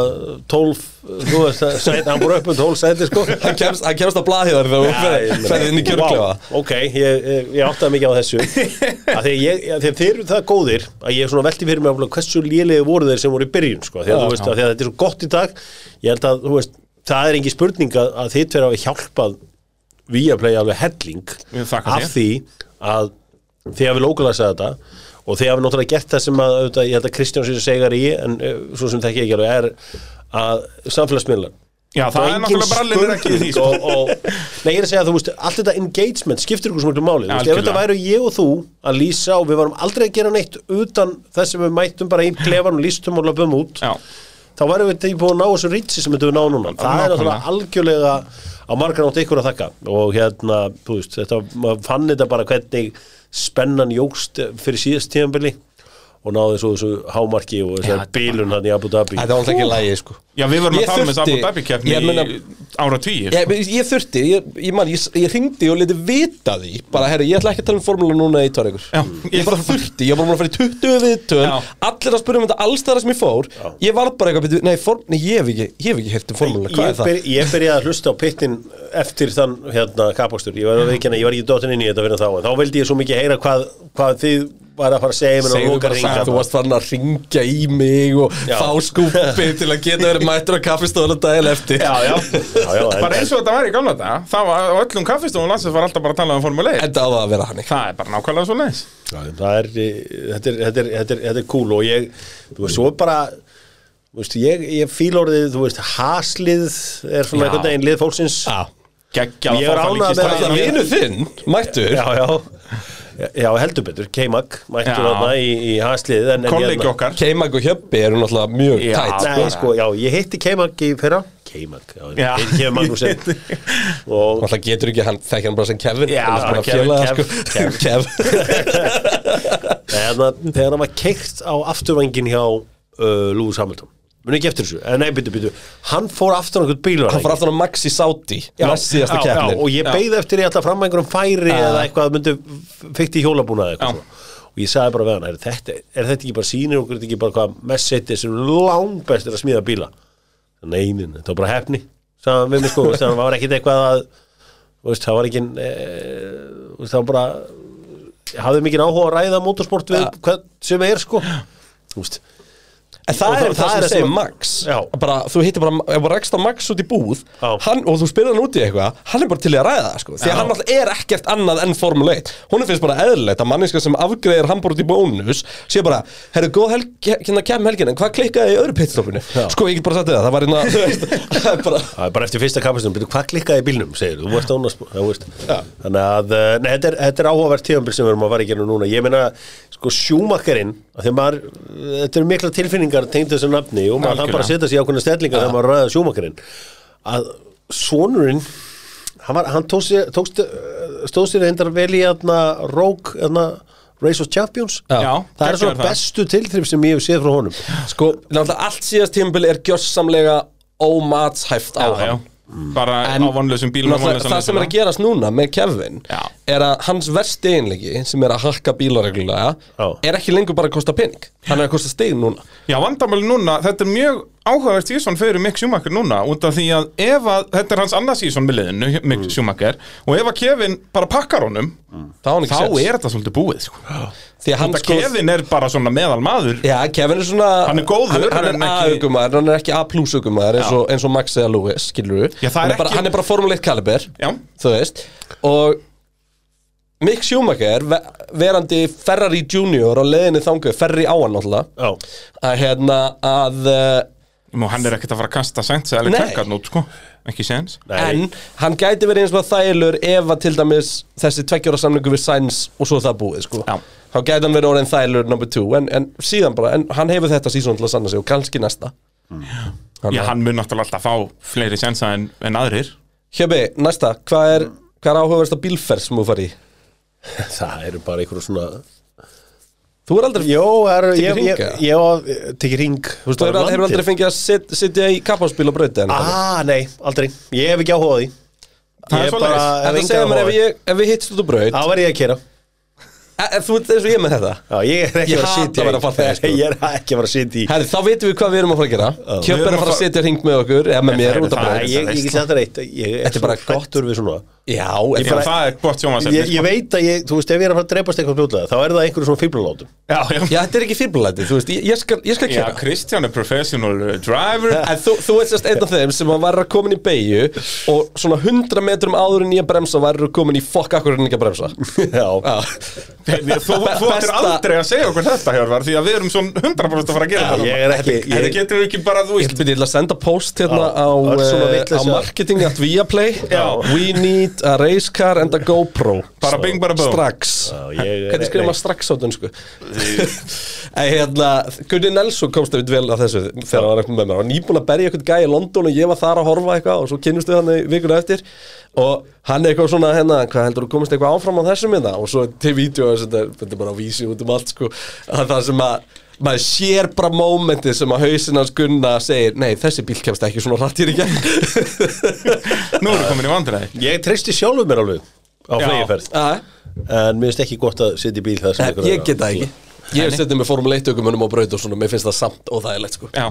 S3: 12, þú veist, sæt, hann voru upp um 12 sæti sko
S1: hann kemst, hann kemst á blaðhjóðar þegar
S3: ég
S1: hún
S3: meina-
S1: ferði inn í kjörklefa
S3: Vá, Ok, ég, ég, ég áttaði mikið á
S2: <laughs>
S3: þessu að því, að ég, að því að þeir eru það góðir að ég svona velti fyrir mig alveg hversu lélegi voru þeir sem voru í byrjun sko, því að, þú veist, að því að þetta er svo gott í dag ég held að, þú veist, það er engin spurning að, að þið tverja hafi hjálpað Viaplay alveg helling
S2: Við þakka
S3: af því að þið hafi lókulasað þetta og þið hafi náttúrulega gert það sem að auðvitað, ég held að Kristján sér segar í en eh, svo sem þekki ég ekki alveg er að samfélagsmiðlar
S2: Já, það er náttúrulega brallin ekki í því sko
S3: og, og, Nei, ég er að segja að þú veist, allt þetta engagement skiptir ykkur sem mjög máli, þú veist, ef
S2: Algjörlega.
S3: þetta væru ég og þú að lýsa og við varum aldrei að gera neitt utan þess sem við mættum bara í klefan og lýstum og löpum út
S2: Já,
S3: þá værum við ekki búin að ná þessu rítsi sem þetta við náum núna, það er náttúrulega algjörlega á margar átt ykkur að þakka og hérna, þú veist, þetta, maður fann þetta bara hvernig spennan jógst fyrir síðast tíðanbili og náði svo þessu hámarki og þessu bílun hann í Abu Dhabi
S1: þetta var alltaf ekki lægi sko
S2: já við vorum
S1: Ég
S2: að tala um þess Abu
S1: þurfti-
S2: Dhabi keppni
S1: ég meina-
S2: í ára tíu
S1: Ég, ég þurfti, ég, ég, man, ég, ég hringdi og leti vita því bara, herri, ég ætla ekki að tala um formúla núna í tvær ykkur
S2: Já,
S1: ég,
S2: ég
S1: bara
S2: þarf-
S1: þurfti, ég var bara að fara í 20 viðtöl
S2: Já.
S1: allir að spyrja um þetta alls þar sem ég fór ég var bara eitthvað, byrju, nei, form, nei ég hef ekki ég hef ekki hirt um formúla, hvað
S3: ég,
S1: er það?
S3: byr, ég byrjaði að hlusta á pittin eftir þann hérna, kapakstur ég var, ekki, ég var ekki dottin inn í þetta fyrir þá en þá vildi ég svo mikið heyra hvað, hvað þið var að fara að segja mér og
S1: Segðu
S3: loka
S1: bara
S3: ringa
S1: að þú varst farin að ringja í mig og
S3: Já.
S1: fá skúpi til að geta verið mættur á kaffistofan daginn eftir
S2: Já, já
S3: já, já, en,
S2: Bara eins og þetta var í gamla þetta Það var á öllum kaffistofum landsins var alltaf bara að tala um Formule 1
S1: En það á það að vera hannig
S2: Það er bara nákvæmlega svo leiðis
S3: það er, eh, þetta, er, þetta, er, þetta, er, þetta er cool og ég, þú veist, svo bara þú veist, ég, ég fíl orðið, þú veist, haslið er
S2: Já.
S3: svona einhvern veginn lið fólksins já,
S2: Geggjað
S3: Ég er ánægður með
S1: Það er
S3: Ég-
S1: vinur þinn, mættur
S3: já, já, heldur betur, K-Mag mættur
S2: Já.
S3: þarna í, í haslið en, hérna- en
S2: Kollegi okkar
S1: Keimag og Hjöppi eru náttúrulega mjög
S2: Já.
S1: tætt sko.
S3: Nei, sko, já, ég hitti K-Mag í fyrra K-Mag, já,
S2: Já.
S3: <laughs> ég hitti K-Magnúsin og
S1: Náttúrulega getur ekki, hann þekkja hann bara sem Kevin
S2: Já,
S1: hann er bara
S2: bara Kevin,
S1: félaga,
S3: Kev,
S1: sko. <laughs> Kev.
S3: þegar hann- þegar hann var keikt á afturvængin hjá uh, Lewis Hamilton muni ekki eftir þessu, Eh, nei, byttu, byttu hann fór aftur á einhvern bílur
S1: Hann fór aftan á Maxi Sáti Næst síðasta keppnin
S3: og ég beigði eftir ég ætla fram að einhverjum færi eða eitthvað að myndi fyrkt í hjólabúna
S2: Já.
S3: eða eitthvað svona. og ég sagði bara við hann er þetta, er þetta ekki bara sýnir okkur er þetta ekki bara hvað message sem langbest er að smíða bíla neinin, þetta var bara hefni sagði hann við mig sko, það var ekkit eitthvað að þú veist, það var ekki e, það var bara hafði mikið áhuga að ræða motorsport við hvern sem er sko Þú veist,
S1: En það,
S3: Og
S1: er það, sem
S3: er
S1: segir
S3: sem-
S1: Max
S3: Já.
S1: bara, Þú hittir bara, ef þú rekst á Max út í búð
S3: Já.
S1: hann, og þú spyrir hann út í eitthvað hann er bara til í að ræða það, sko því
S3: Já.
S1: að hann alltaf er ekkert annað enn Formule 1 hún finnst bara eðlilegt að manninska sem afgreðir hann bara út í bónus sé bara, herru, góð helg, hérna kem helgin en hvað klikkaði í öðru pitstopinu? Sko, ég get bara sagt þér það, það var hérna <laughs> þú veist, það er bara,
S3: Það er bara eftir fyrsta kapastum, byrju hvað klikkaði í bílnum, segir þú, þú varst án að spóra, þú veist. Þannig að, eh, nei, þetta er, þetta er áhugavert tíðanbyrg sem við erum að fara í gerum núna. Ég meina, sko, sjúmakkarinn, af því að maður, eh, þetta eru mikla tilfinningar tengd þessu nafni og maður hann
S2: Algjörlega.
S3: bara að setja sig í ákveðna stellingar þegar maður ræða sjúmakkarinn. Að sonurinn, hann, var, hann tók sér, tók, sér- stóð sér eindar vel í aðna rók, aðna Race of Champions.
S1: Já.
S2: Já,
S3: það er
S2: geggjaður
S3: svona
S2: það.
S3: bestu tilþrif sem ég hef séð frá honum.
S1: sko, náttúrulega allt síðast tímbil er gjörsamlega ómatshæft á
S2: Já,
S1: hann
S2: já. bara
S1: Mm. En-
S2: á vonlausum bílum og
S1: Náttúrulega,
S2: vonlausum
S1: það sem er að gerast núna með Kevin
S2: Já.
S1: er að hans versti einleiki sem er að hakka bílareglulega
S3: Já.
S1: er ekki lengur bara að kosta pening hann er að kosta stig núna
S2: Já, vandamál núna, þetta er mjög áhugavert sísón fyrir Mick Schumacher núna út af því að ef að, þetta er hans annað sísón með liðinu, Mick
S1: Mm.
S2: Schumacher og ef að Kevin bara pakkar honum
S1: þá, er hann
S2: þá
S1: ekki séns.
S2: er þetta svolítið búið sko.
S1: því að hann
S2: Þetta Kevin er bara svona meðal maður
S1: Sko- já, Kevin er svona
S2: Hann er góður,
S1: hann, hann
S2: en
S1: er
S2: ekki-
S1: A-augumæður, hann er ekki A-plus-augumæður eins, og- eins og Max eða Lewis, skilur við
S2: Já, það er
S1: hann, er bara,
S2: ekki-
S1: hann er bara Formule 1 kaliber
S2: Já,
S1: þú veist og Mick Schumacher ve- verandi Ferrari Junior á leiðinni þangu Ferrari á hann náttúrulega
S3: Já.
S1: að hérna að eh,
S2: og hann er ekkert að fara að kasta sent eða
S1: Nei.
S2: klækkað nút, sko, ekki séns
S3: Nei.
S1: En hann gæti verið eins og þælur ef að til dæmis þessi tveggjóra samlingu við Sainz og svo það búið sko.
S2: Já.
S1: Þá gæti hann verið orðin þælur number two en, en síðan bara, en hann hefur þetta sísón til að sanna sig og kannski næsta
S2: Já, hann mun náttúrulega alltaf fá fleiri sensa en, en aðrir
S1: Hjöbi, næsta, hvað er, hvað er áhugaversta bílferð sem þú farið í?
S3: Það eru bara einhverjum svona
S1: Þú er aldrei,
S3: Jó, það eru, ég,
S1: Tekið
S3: ég,
S1: hring, eða?
S3: ég var, tekið ring Þú
S1: þú er, hefur aldrei fengið að sit, sitja í kapphásbíl og brauti en
S3: Ah, nei, aldrei, ég hef ekki áhugað því
S2: Það
S3: Ég
S2: er svoleiðis.
S3: bara hef
S1: það
S3: engan
S1: segja mér
S3: áhuga á
S1: ef,
S3: því.
S1: ég, ef við hittst út á braut
S3: Þá verð ég að kera
S1: e- e- Þú ert eins og ég með þetta
S3: Já, ég er ekki
S1: Ég
S3: að fara að
S1: hata
S3: sitja
S1: að vera
S3: í-
S1: að fara þér, sko.
S3: <laughs> Ég er ekki að fara að sitja í
S1: Herri, þá vitum við hvað við erum að fara að gera
S2: Við
S1: Hjöbi er að
S2: erum að
S1: fara að
S2: fara-
S1: sitja hring með okkur eða með mér
S2: það er
S1: út á
S2: það.
S3: Æ,
S1: braut
S3: Ég ég get sagt það reitt Ég
S1: sko. Þetta er
S3: er
S1: bara
S3: bara
S1: gott.
S3: gottur við svona
S1: Já, en það-
S2: Já,
S1: sko.
S2: það er gott sjómasefni
S3: Ég, ég veit að ég, þú veist, ef ég er að fara að dreipast eitthvað fljóðlega þá er það einhverjum svona fíblalátum
S2: Já, já,
S1: Já, þetta er ekki fyrirbulæti, þú veist, ég, ég skal, ég skal
S2: já,
S1: kera
S2: Kristján er professional uh, driver
S1: En þú, þú ert sérst einn af þeim sem var að komin í beigju og svona 100 metrum áður en ég bremsa var að komin í fokk akkur en ekki að bremsa
S3: Já,
S1: Já,
S2: Þú, þú þú ættir
S1: Besta-
S2: aldrei að segja okkur þetta, Hjörvar, því að við erum svona 100% að fara að gera þetta.
S3: ég er ekki
S2: En það
S3: ég,
S2: getur við ekki bara, þú
S1: Ég
S2: veist,
S1: ætla byrja að senda post hérna á,
S3: Já, öll svona
S1: eh, á
S3: vitleysa.
S1: marketing at Viaplay
S2: Já.
S1: We need a race car and a GoPro
S2: bara bing, bara bó.
S1: Strax
S3: Já, ég-
S1: Hvernig skrifa maður strax á dönsku? <laughs> En hérna, Gunni Nelson komst eftir vel að þessu þegar hann var ekki með mér. Hann var nýbúin að berja eitthvað gæja í London og ég var þar að horfa eitthvað og svo kynnust við hann í vikuna eftir og hann er eitthvað svona hérna, hvað heldur þú komist eitthvað áfram á þessum minna? Og svo til vídeo og þetta þetta er bara að vísi út um allt sko að það sem að maður sér bara mómentið sem að hausinn hans Gunna segir, nei þessi bíl kemst ekki svona hrattir í gegn <laughs>
S2: Nú erum við komin í vandræði.
S3: ég treysti sjálfur mér alveg á
S2: Já.
S3: flegiferð
S1: Já,
S3: En mér finnst ekki gott að sitja í bíl þar sem einhver er
S1: ég
S3: að-
S1: get það ekki Ég setið með formule 1 aukumunum á braut og svona, mér finnst það samt og það er lett sko
S3: <laughs>
S2: Já,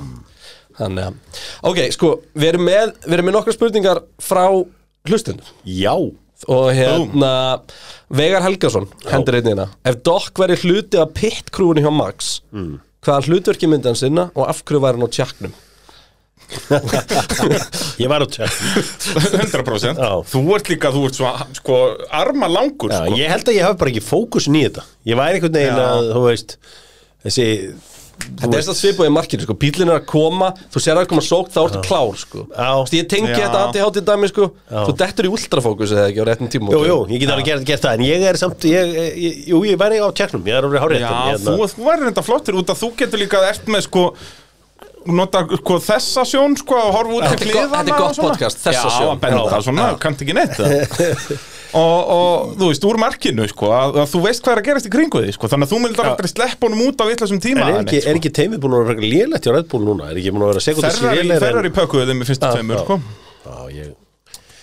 S1: Þannig að, ok, sko, við erum með, við erum með nokkra spurningar frá hlustundum
S3: Já
S1: og hérna, Veigar Helgason hendur einnig hérna, ef Dokk væri hluti af pitkrúinu hjá Max
S3: Hmm.
S1: mm. hvaða hlutverki myndi hann sinna og af hverju væri hann á tjakknum?
S3: Ég var á tjekk
S2: 100%.
S3: Já.
S2: Þú ert líka, þú ert svo, sko, arma langur,
S3: Já,
S2: sko.
S3: ég held að ég hafi bara ekki fókusin í þetta Ég væri einhvern veginn
S2: Já.
S3: að, þú veist Þessi þú
S1: Þetta er það svipaði markinu, sko, bílinn er að koma þú sér að koma sók, þá ertu klár, sko
S3: Já.
S1: Þú veist, ég tengi
S2: Já.
S1: þetta ADHD dæmi, sko þú dettur í ultrafókus eða ekki á réttum tíma
S3: Jú, jú, ég get alveg gert, gert það En ég er samt, ég, ég, jú, ég væri á tjekknum Ég er hérna. alveg hárið
S2: Já, þú, þú væri reynda flottur út að þú getur líka eftir með, sko, nota sko, þessa sjón, sko, og horfa út
S1: Þetta er
S2: til
S1: gott-
S2: kliðana
S1: þetta er gott podcast, þessa
S2: Já,
S1: sjón.
S2: að benda svona, kannt ekki neitt það.
S1: <laughs>
S2: og, og þú veist, úr markinu, sko, að, að þú veist hvað er að gerast í kringu því, sko, þannig að þú myndar aldrei sleppa honum út á vitlasum
S3: En
S2: tíma
S3: er
S2: eða
S3: ekki,
S2: neitt,
S3: er ekki teimið búin að vera frekar lélegt hjá Red Bull núna? Er ekki búin að vera sekundar
S2: sko. Ferrari, Ferrari pökkuðu þeim í fyrstu tveimur sko.
S3: Já, ég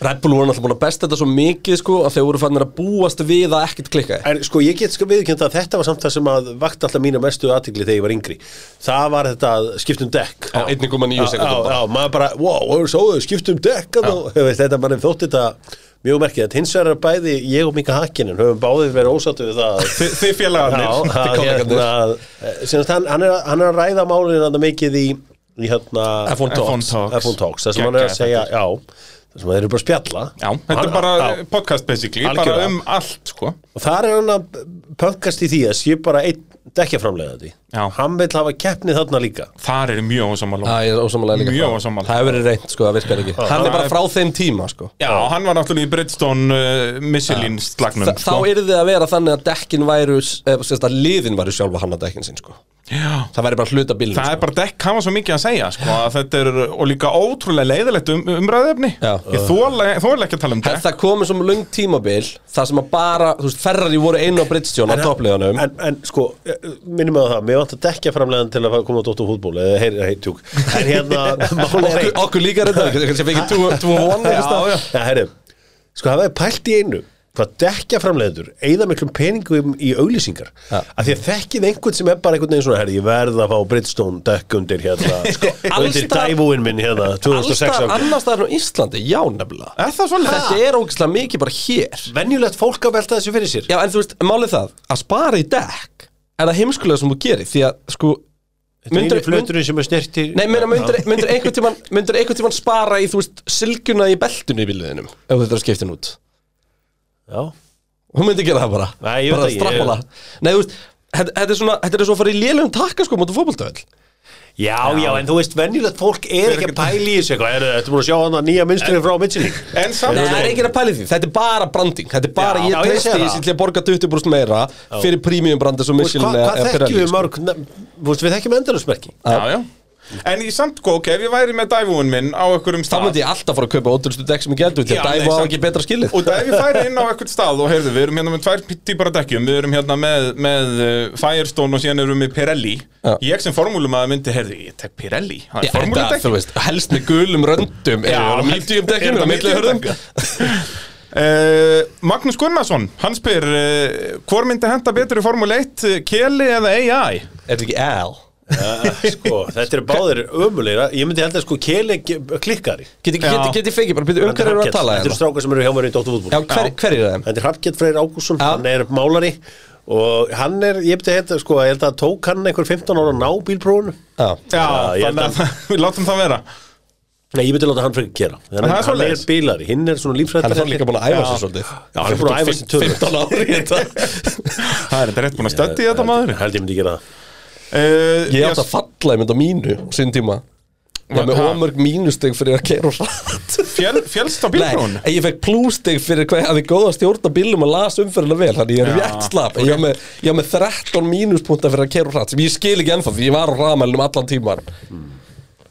S1: Red Bull voru náttúrulega búin að besta þetta svo mikið, sko að þeir voru fannir að búast við að ekkert klikkaði
S3: En sko, ég get sko viðkjönd að þetta var samt það sem að vakti alltaf mína mestu aðtigli þegar ég var yngri Það var þetta að skiptum dekk
S1: Á 1,9 sekúndum
S3: Já,
S1: bara.
S3: já, maður bara, wow, svo, skiptum dekk þarna og- þú veist, Þetta bara þótti þetta mjög merkilegt, hins vegar er bæði ég og Mika Hakkinen höfum báðið verið ósattu við það að-
S2: Þi, þið félagarnir
S3: Já, að
S1: kollegarnir.
S3: hérna, eh, sem sagt, hann, hann, er, að- hann er að ræða málinu þetta mikið í, í hérna,
S1: F1
S2: F1
S1: Talks.
S2: Talks.
S3: F1 Talks þar sem hann er að
S2: Geggjað
S3: segja já, þar sem þeir eru bara að spjalla
S2: Já, þetta er
S3: Hann-
S2: bara
S3: já.
S2: podcast basically, bara
S3: Algjörlega.
S2: um allt sko
S3: og þar er hann að pöngast í því að sé bara einn dekkjaframlegandi
S2: Já.
S3: hann vil hafa keppni þarna líka
S2: Þar eru mjög ósamála
S1: Það er ósamálega líka
S2: Mjög
S1: það.
S2: ósammála.
S1: Það hefur verið reynt, sko, það virkar ekki Hann er bara frá þeim tíma, sko
S2: Já, hann var náttúrulega í Bridgestone uh, Michelin slagnum sko.
S1: Þa,
S3: sko.
S1: Þá yrði að vera þannig að dekkin væru eða sérst að liðin væru sjálfa hann að dekkin sinn, sko
S2: Já,
S1: Það væri bara hluta bílum,
S2: það
S1: sko
S2: er bara dekk, hann var svo mikið að segja sko, að þetta er, og líka ótrúlega leiðilegt um, umræðefni
S1: Já.
S2: Ég þóla, þóla ekki að tala um
S1: En
S2: dekk
S1: það komið sem löng tímabil Það sem að bara, þú veist, Ferrari voru einu á Bridgestone á toppliðanum
S3: en, en sko, eh, minnum við á það mér vant að dekja framlegðan til að fara að koma á Dóttu fútból eða heyr, heyr,
S1: <laughs>
S3: tjúk en hérna, mál er
S1: Okkur-
S3: eitt
S1: Okkur líka
S3: <laughs>
S1: reynda, kannski fengið 2-1
S3: já, já. Já, heyrðu, sko það er pælt í einu hvað dekja framlegður, eigða miklum peningum í auglýsingar,
S1: Ja.
S3: af því að þekkið einhvern sem er bara einhvern veginn svona, herri, ég verð að fá Bridgestone dekk undir hérna
S1: <laughs>
S3: sko,
S1: alls
S3: undir
S1: staðar-
S3: dæfúin minn hérna 2006
S1: Allstar
S3: ákveð.
S1: annars staðar á Íslandi, já nefnilega
S2: Er það svona?
S1: Þetta er ógeðslega mikið bara hér
S3: venjulegt fólk að velta þessu fyrir sér
S1: Já, en þú veist, málið það, að spara í dekk er það heimskulega sem þú gerir, því að, sko
S3: myndur
S1: myndir-
S3: fluturinn sem er snerti
S1: Nei, meina, myndir, myndir einhvern tímann myndir einhvern tímann spara í, þú veist, silgjuna í beltinu í bíliðinum, ef þetta er að skipta henn út
S3: já,
S1: Hún myndi gera það bara,
S3: Nei, ég veit
S1: bara
S3: ekki,
S1: strappala Nei, þú veist, þetta þetta er svona þetta er svo að fara í lélum takka, sko, mútu fótboltavell
S3: já, já, en þú veist venjulegt fólk er ekki að pæli í þessu eitthvað, er þetta búin að sjá hann að nýja minnstrið frá Eh, Michelin
S2: En samt,
S1: Nei, það er enginn að pæli því, þetta er bara branding Þetta er bara,
S3: Já,
S1: ég
S3: já, ég
S1: treysti
S3: sé það.
S1: þessi til að borga 20% meira fyrir premium brandi svo
S3: Þú veist,
S1: Michelin
S3: hvað
S1: eða-
S3: hvað
S1: eða
S3: þekkjum
S1: Pirelli,
S3: við
S1: sko.
S3: mörg nefn- þú veist, við
S1: <laughs>
S3: þekkjum endalusmerki
S2: já, já En í samt, sko, ok, ef ég væri með dæfúin minn á einhverjum
S1: Þá
S2: stað
S1: myndi ég alltaf fara að kaupa ótrústu dekk sem ég gældu Því
S2: Já,
S1: að
S2: nei,
S1: dæfa á
S2: samt-
S1: ekki betra skilið
S2: Og ef ég færi inn á eitthvað stað og heyrðu, við erum hérna með tvær típar að dekkjum, við erum hérna með, með uh, Firestone og síðan erum við með Pirelli
S1: Já.
S2: Ég sem formúlumæður myndi, heyrðu, ég tek Pirelli, það
S1: Já,
S2: er
S1: þetta, þú
S2: formúludekk
S1: veist, helst með gulum röndum
S2: Já,
S1: Já, á
S2: helst-
S1: mítjum dekkjum, á
S2: eru á
S1: milli
S2: millihurðum?
S1: hörðum
S2: <laughs> Uh, Magnús Gunnarsson, hann spyr uh, Hvor myndi henda betur í Formule 1 uh, Keli eða AI?
S1: Er þetta ekki L? Ah,
S3: Eh, sko, þetta eru báðir ömulegra Ég myndi held að sko keli klikkari
S1: Geti
S2: Já.
S1: geti- geti fengið bara, byrju, um
S3: Þetta
S1: hverju eru að tala
S3: eru
S1: hérna?
S3: strákar sem eru hjá mér í Dóttu
S1: Já,
S3: fútból
S1: hver, hver er það?
S3: Þetta er Hrafnkett Freyr Ágússon,
S1: Já.
S3: hann er málari og hann er, ég myndi held að sko ég held að tók hann einhver 15 ára að ná bílprófunu
S1: Já,
S2: Já,
S3: Já, ég held
S2: þannig að <laughs> við látum það vera
S3: Nei, ég myndi láta hann fyrir að gera Þannig,
S2: það er
S3: að Hann er
S2: svoleiðis.
S3: bílari, hinn er svona lífsrættur
S1: hann er þá líka búin að æfa sig
S3: Já.
S1: svolítið
S3: Já, hann er búin að æfa sig tölvöld
S1: 15 ári í þetta
S2: Það er þetta rétt búin að stöndi í þetta maður
S3: Held ég myndi gera það
S2: uh,
S1: Ég átti að falla, ég myndi á mínu, sín tíma Ég var með
S2: Ha?
S1: ómörg mínusteg fyrir að keira hratt
S2: fjöl, Fjölst á bílbrún
S1: Nei, en ég fekk plústeg fyrir hvað ég hafði góða stjórna bílum og las umferðina vel Þannig ég er rétt slapp En Ég var með, ég var með 13 mínuspunta fyrir að keira hratt sem ég skil ekki ennþá því ég var á hraðmælunum allan tíman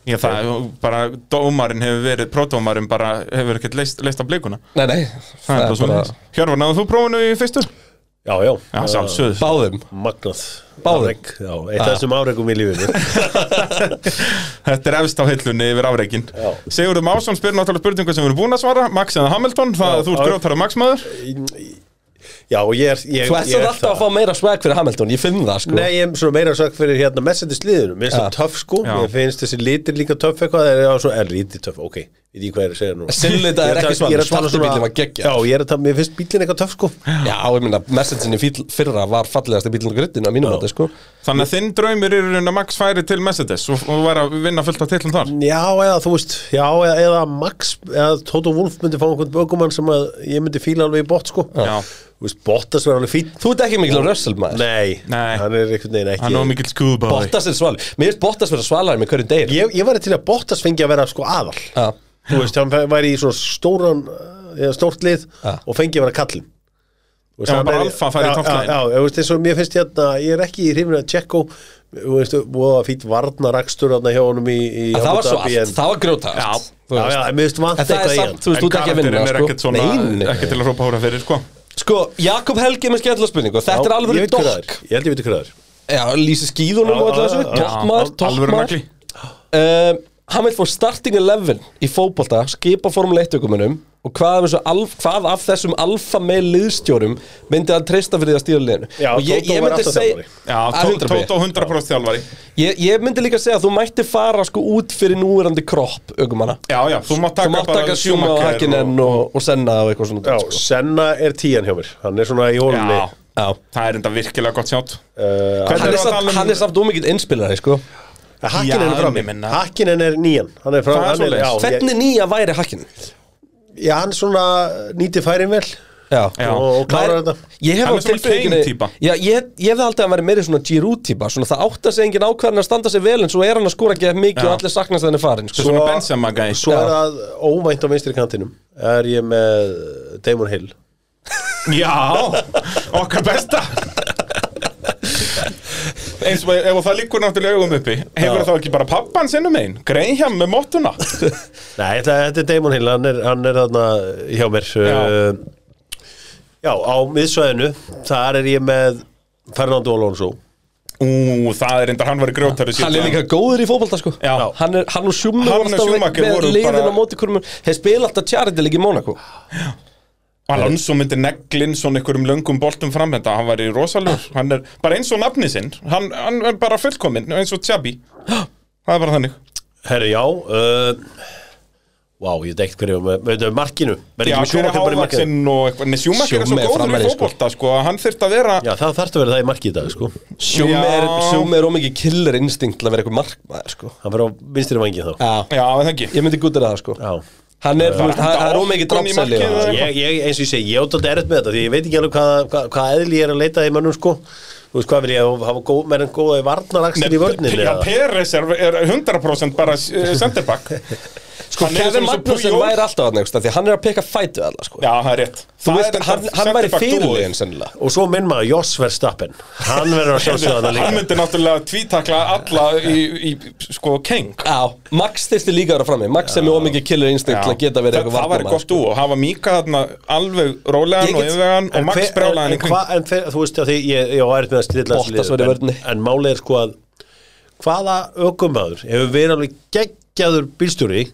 S2: Já, það er bara, dómarinn hefur verið, pródómarinn bara hefur ekkert leist, leist á blikuna
S1: Nei, nei,
S2: Það er bara svona Hjörvar, náðu þú prófunu í fyrstu?
S3: Já, já,
S2: Já, sjálfsögð
S1: Báðum
S3: magnað
S1: Báðum.
S3: Afrek, Já, eitt af þessum afrekum í lífinu
S2: Þetta er efst á hillunni yfir afreikin
S3: Já.
S2: Sigurður Másson spyr náttúrulega spurningu sem við erum búin að svara Max eða Hamilton, það
S3: Já,
S2: þú ert
S3: já.
S2: grjótara Max maður
S3: Já, og ég er ég-
S1: Þú
S3: ég
S1: ætlar
S3: er
S1: alltaf
S3: það.
S1: að fá meira swag fyrir Hamilton, ég finn það sko
S3: Nei, ég er svona meira sagt fyrir hérna Mercedes liðinu, mér finnst það töff sko
S2: Já.
S3: mér finnst þessi litir líka töff eitthvað það er já, svona, er lítið töff, ok, við því hvað ég er að segja nú
S1: Silvita
S3: Ég
S1: er ekki
S3: að- ég
S1: svona,
S3: að tala
S1: svartu bílum að gegja
S3: Já, ég er að tala, mér finnst bílinn eitthvað töff sko
S1: Já, ég minna, messagein í fíl- fyrra var fallegasti bílun og grittinu að mínum
S3: Já.
S1: átti sko
S2: Þannig að þinn draumir eru að Max færi til Mercedes og, og væri að vinna fullt af tillum þar
S3: Já, eða þú veist, já, eða, eða Max, eða Toto Wolf myndi fá einhvern bökumann sem að ég myndi fíla alveg í bótt sko
S2: Já.
S3: Þú veist, Bottas verður alveg fín
S1: Þú ert ekki mikil á Russell maður
S3: Nei,
S2: Nei.
S3: hann er einhvern veginn ekki
S2: Hann er mikill skúðbáði
S1: Bottas er svalur, mér finnst Bottas vera svalari með hverjum degir
S3: Ég, ég var til að Bottas fengi að vera sko aðal
S1: Já,
S3: þú veist, hann fæ- væri í svona stóran eða stórt lið
S1: Ja.
S3: og fengi að vera kallin Þú
S2: Já,
S3: hann
S2: bara
S3: væri-
S2: alfa færi í
S3: Já,
S2: toppslaginn.
S3: Já, já, þú veist, eins og mér finnst hérna, ég er ekki í hrifinu að Tjekko þú veist, voða fýtt varnarakstur hérna hjá honum í, í
S1: En það
S3: Abu
S1: var svo
S3: Dhabi,
S1: allt,
S3: en,
S1: það var grjóta
S2: Já.
S3: Já, já, en mér finnst vant
S1: En það er
S3: eitthvað í hann
S1: samt, þú veist, þú ert ekki að vinna
S2: er
S1: sko.
S2: ekkert svona,
S1: Nei, nei.
S2: ekki til að hrópa hóra fyrir sko.
S1: Sko, Jakob Helgi er með skemmtilega spurningu og Þetta
S3: Já,
S1: er
S3: ég
S1: alveg
S3: veit hver það
S1: dokk
S3: er. Ég held ég veit hvað það er
S1: Já, lýsi skíðunum og
S3: Já,
S1: alltaf
S3: já,
S1: þessu
S3: já.
S1: Toppmar,
S2: Alvöru
S1: toppmar
S2: nagli
S1: Um, Hann vil fá starting 11 í fótbolta skipa Formule 1 aukumunum og hvað af, þessu alf, hvað af þessum alfa með liðstjórum myndi hann treysta fyrir því að stýra liðinu
S3: Já,
S1: og ég,
S3: Tótó
S1: ég
S3: var
S1: myndi
S3: alltaf
S1: segja
S3: þjálfari.
S2: Já,
S1: Að
S2: Tó-
S1: 100%.
S2: Tótó 100% þjálfari
S1: ég, ég myndi líka segja að þú mætti fara sko út fyrir núverandi kropp aukumanna
S2: Já, já, þú mátt
S1: þú
S2: taka
S1: mátt taka sjúma og hakinen og, og, senna og eitthvað svona
S3: Já,
S1: dót, sko.
S3: Senna er tíjan hjá mér Hann er svona í hólunni
S2: Já,
S1: Já.
S2: það er enda virkilega gott sjátt
S3: uh,
S2: Hvernig
S1: hann
S2: erum
S1: er
S2: við að tala
S1: samt,
S2: um-
S1: hann er samt ómikið innspilari sko
S3: Eh, Hakkinen er
S2: Já,
S3: frá
S2: en ég
S3: mér
S2: meina-
S3: Hakkinen er nýjan Hann er frá
S2: Það er
S3: hann
S2: svoleiðis.
S3: já, ég,
S1: hvernig nýja væri hakkin
S3: já, hann svona nýti færin vel
S1: Já,
S2: Já.
S3: Og, og
S1: Maður-
S3: klárar þetta
S1: Ég hef
S2: Hann
S1: á
S2: er svona
S1: tilfinningunni
S2: Kane-týpa.
S1: Já, ég, ég hefði haldið að hann væri meiri svona Giroud-týpa Svona það átta sig engin ákvarðin að standa sig vel En svo er hann að skora ekki mikið
S2: Já.
S1: og allir saknast að hann er farin sko.
S2: Svona Benzema gæi
S3: Svo er það óvænt á vinstri kantinum Er ég með Damon Hill
S2: Já, okkar besta eins og ef það líkur náttúrulega augum uppi hefur þá ekki bara pappan sinnum einn Greinhjám með
S1: <laughs>
S2: mottuna
S3: Nei, þetta, þetta er Damon Hill Hann er, hann er þarna hjá mér
S2: Já.
S3: já. já, á miðsvæðinu Þar er ég með Fernando Alonso
S2: Ú, það er enda, hann var í grjótari
S1: Hann er líka góður í fótbolta sko
S2: Já.
S1: Hann, er, hann og Schumacher
S2: Hann og
S1: voru alltaf
S2: Schumacher
S1: með
S2: voru
S1: liðin
S2: bara-
S1: á móti hverjum Þeir spila alltaf charity leik í Monaco
S2: Alonso myndi neglinn svona einhverjum löngum boltum fram þetta, hann var í rosalur hann er bara eins og nafni sinn hann, hann er bara fullkominn, eins og
S1: <gasps>
S2: Tjabi það er bara þannig
S3: Herra, já uh, Vá, ég veit ekkert hverju með, með, með markinu Verði
S2: Já,
S3: ekki með
S2: hver er
S3: Schumacher bara í markinu
S2: hávaksinn og eitthvað Nei, Sjúmakir er svo
S1: Schumacher er
S2: góður í
S1: framherji, sko.
S2: fótbolta sko. að hann þyrft að vera
S3: Já, það þarftu að vera það í marki í dag, sko
S1: Schumacher
S2: Já.
S1: Schumacher er ómikið killer instinct til að vera eitthvað markmaður sko
S3: Hann fyrir á vinstri vangi þá
S1: Já,
S2: Já, það ekki
S1: ég myndi gútið það sko
S3: Já
S1: Hann er, þú veist, hann- hann er
S2: Bara
S1: ómikið
S2: ofan í
S1: drapsæli
S2: markið eða-
S3: ég, ég, eins og ég segi, ég átt að erut með þetta því ég veit ekki alveg hvað, hvað, hvað eðli ég er að leita í mönnum sko þú veist hvað vil ég hafa- hafa góð, meðan góða í varnarakstur í
S2: P-
S3: vörninni
S2: Já,
S3: eða?
S2: Peres er, er 100% bara eh,
S1: <laughs>
S2: senderbakk
S1: Sko, Kevin Magnussen væri alltaf hann Því að hann er að peka fætu alla sko
S2: Já, það er rétt
S1: Þú
S2: Það
S1: veist,
S2: er enda
S1: hann, hann væri
S2: centerback dúo.
S1: fyrirlegin sennilega
S3: og svo minn maður Joss Verstappen hann verður að sjálfsögða það
S2: Hann
S3: líka
S2: myndi náttúrulega tvítakla alla í, í sko, King
S1: Já, Max þyrfti líka að vera frammi Max er mjög ómikið killer instinct til að geta verið
S2: Það væri
S1: varnarmaður,
S2: gott
S1: sko.
S2: dú og hafa Mika þarna alveg
S1: Ég
S2: rólegan og
S1: get-
S2: yfirvegan og Max
S3: hver-
S2: brjálaðan í
S3: en
S2: kring
S3: hvað- en hver- þú veist að því ég, ég á erut með að stilla þessu
S1: Bottas
S3: liði,
S1: verður í
S3: en,
S1: vörninni.
S3: en málið er sko að hvaða ökumöður hefur verið alveg geggjaður bílstjóri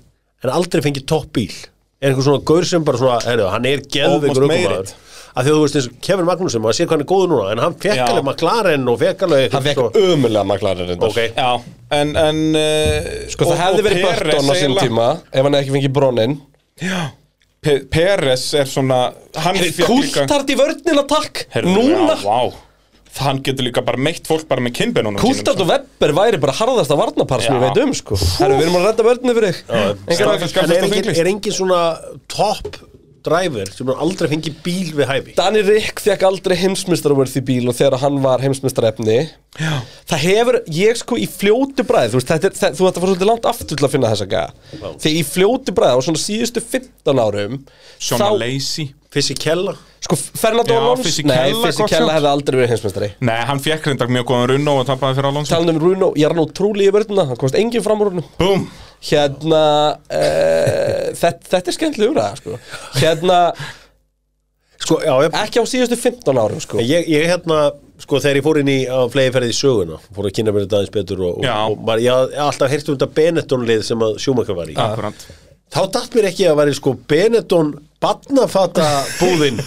S3: en aldrei fengið topp bíl er einhver svona gaur sem bara svona heyrðu, hann er geðveikur
S2: Almost made
S3: ökumöður
S2: it.
S3: af því að þú veist eins og Kevin Magnússon maður sé hvað hann er góður núna en hann fekk
S2: Já.
S3: alveg McLaren og fekk alveg
S1: Hann fekk ömulega maklarinn reyndar
S3: ok
S2: Já, en, en uh,
S1: Sko það hefði verið Burton á sinn tíma Ef hann ekki fengið brónin
S2: Peres er svona Hann fékk líka-
S1: Kúltart í vörnina takk
S2: Heyrðu,
S1: Núna
S2: já, vá. Hann getur líka bara meitt fólk bara með sko. kynbeinunum
S1: Kúltart og Webber væri bara harðasta varnapar sem
S2: Já.
S1: ég veit um sko Herru, við erum að redda vörnina fyrir þig Engar
S2: Staðfest.
S1: áhyggjur.
S2: Skafast
S3: en er
S2: á
S3: engin,
S2: þinglist.
S3: er engin svona topp driver sem hann aldrei fengið bíl við hæfi
S1: Danny Rick fekk aldrei heimsmyndstaravörð í bíl og þegar hann var heimsmyndstarefni Það hefur, ég sko í fljótu bræði Þú veist, þetta er, það, þú ætti að fara svolítið langt aftur til að finna þessa gæða Þegar í fljótu bræði á svona síðustu 15 árum
S2: Sjóna
S1: þá-
S2: Lacey
S3: Fisichella
S1: Sko, Fernando
S2: Já,
S1: Alonso
S2: Fisichella,
S1: Nei,
S2: gott
S1: Fisichella
S2: shot.
S1: hefði aldrei verið heimsmeistari
S2: Nei, hann fekk reyndak mjög góðan runn og tapaði fyrir Alonso
S1: Talan um Runo, ég er nú trúli í vörðuna Hann komst engin fram úr húnum
S2: Búm
S1: Hérna, uh, þetta, þetta er skemmtileg umræða, sko Hérna,
S3: sko, já, ég,
S1: ekki á síðustu 15 árum, sko
S3: ég, ég hérna sko þegar ég fór inn í að flegi ferði í söguna fór að kynna mér þetta aðeins betur og,
S2: Já.
S3: og, og maður, ég hafði alltaf heyrt um þetta Benetton lið sem að Schumacher var í
S2: Akkurant
S3: þá datt mér ekki að væri sko Benetton barnafata
S1: <laughs>
S3: búðin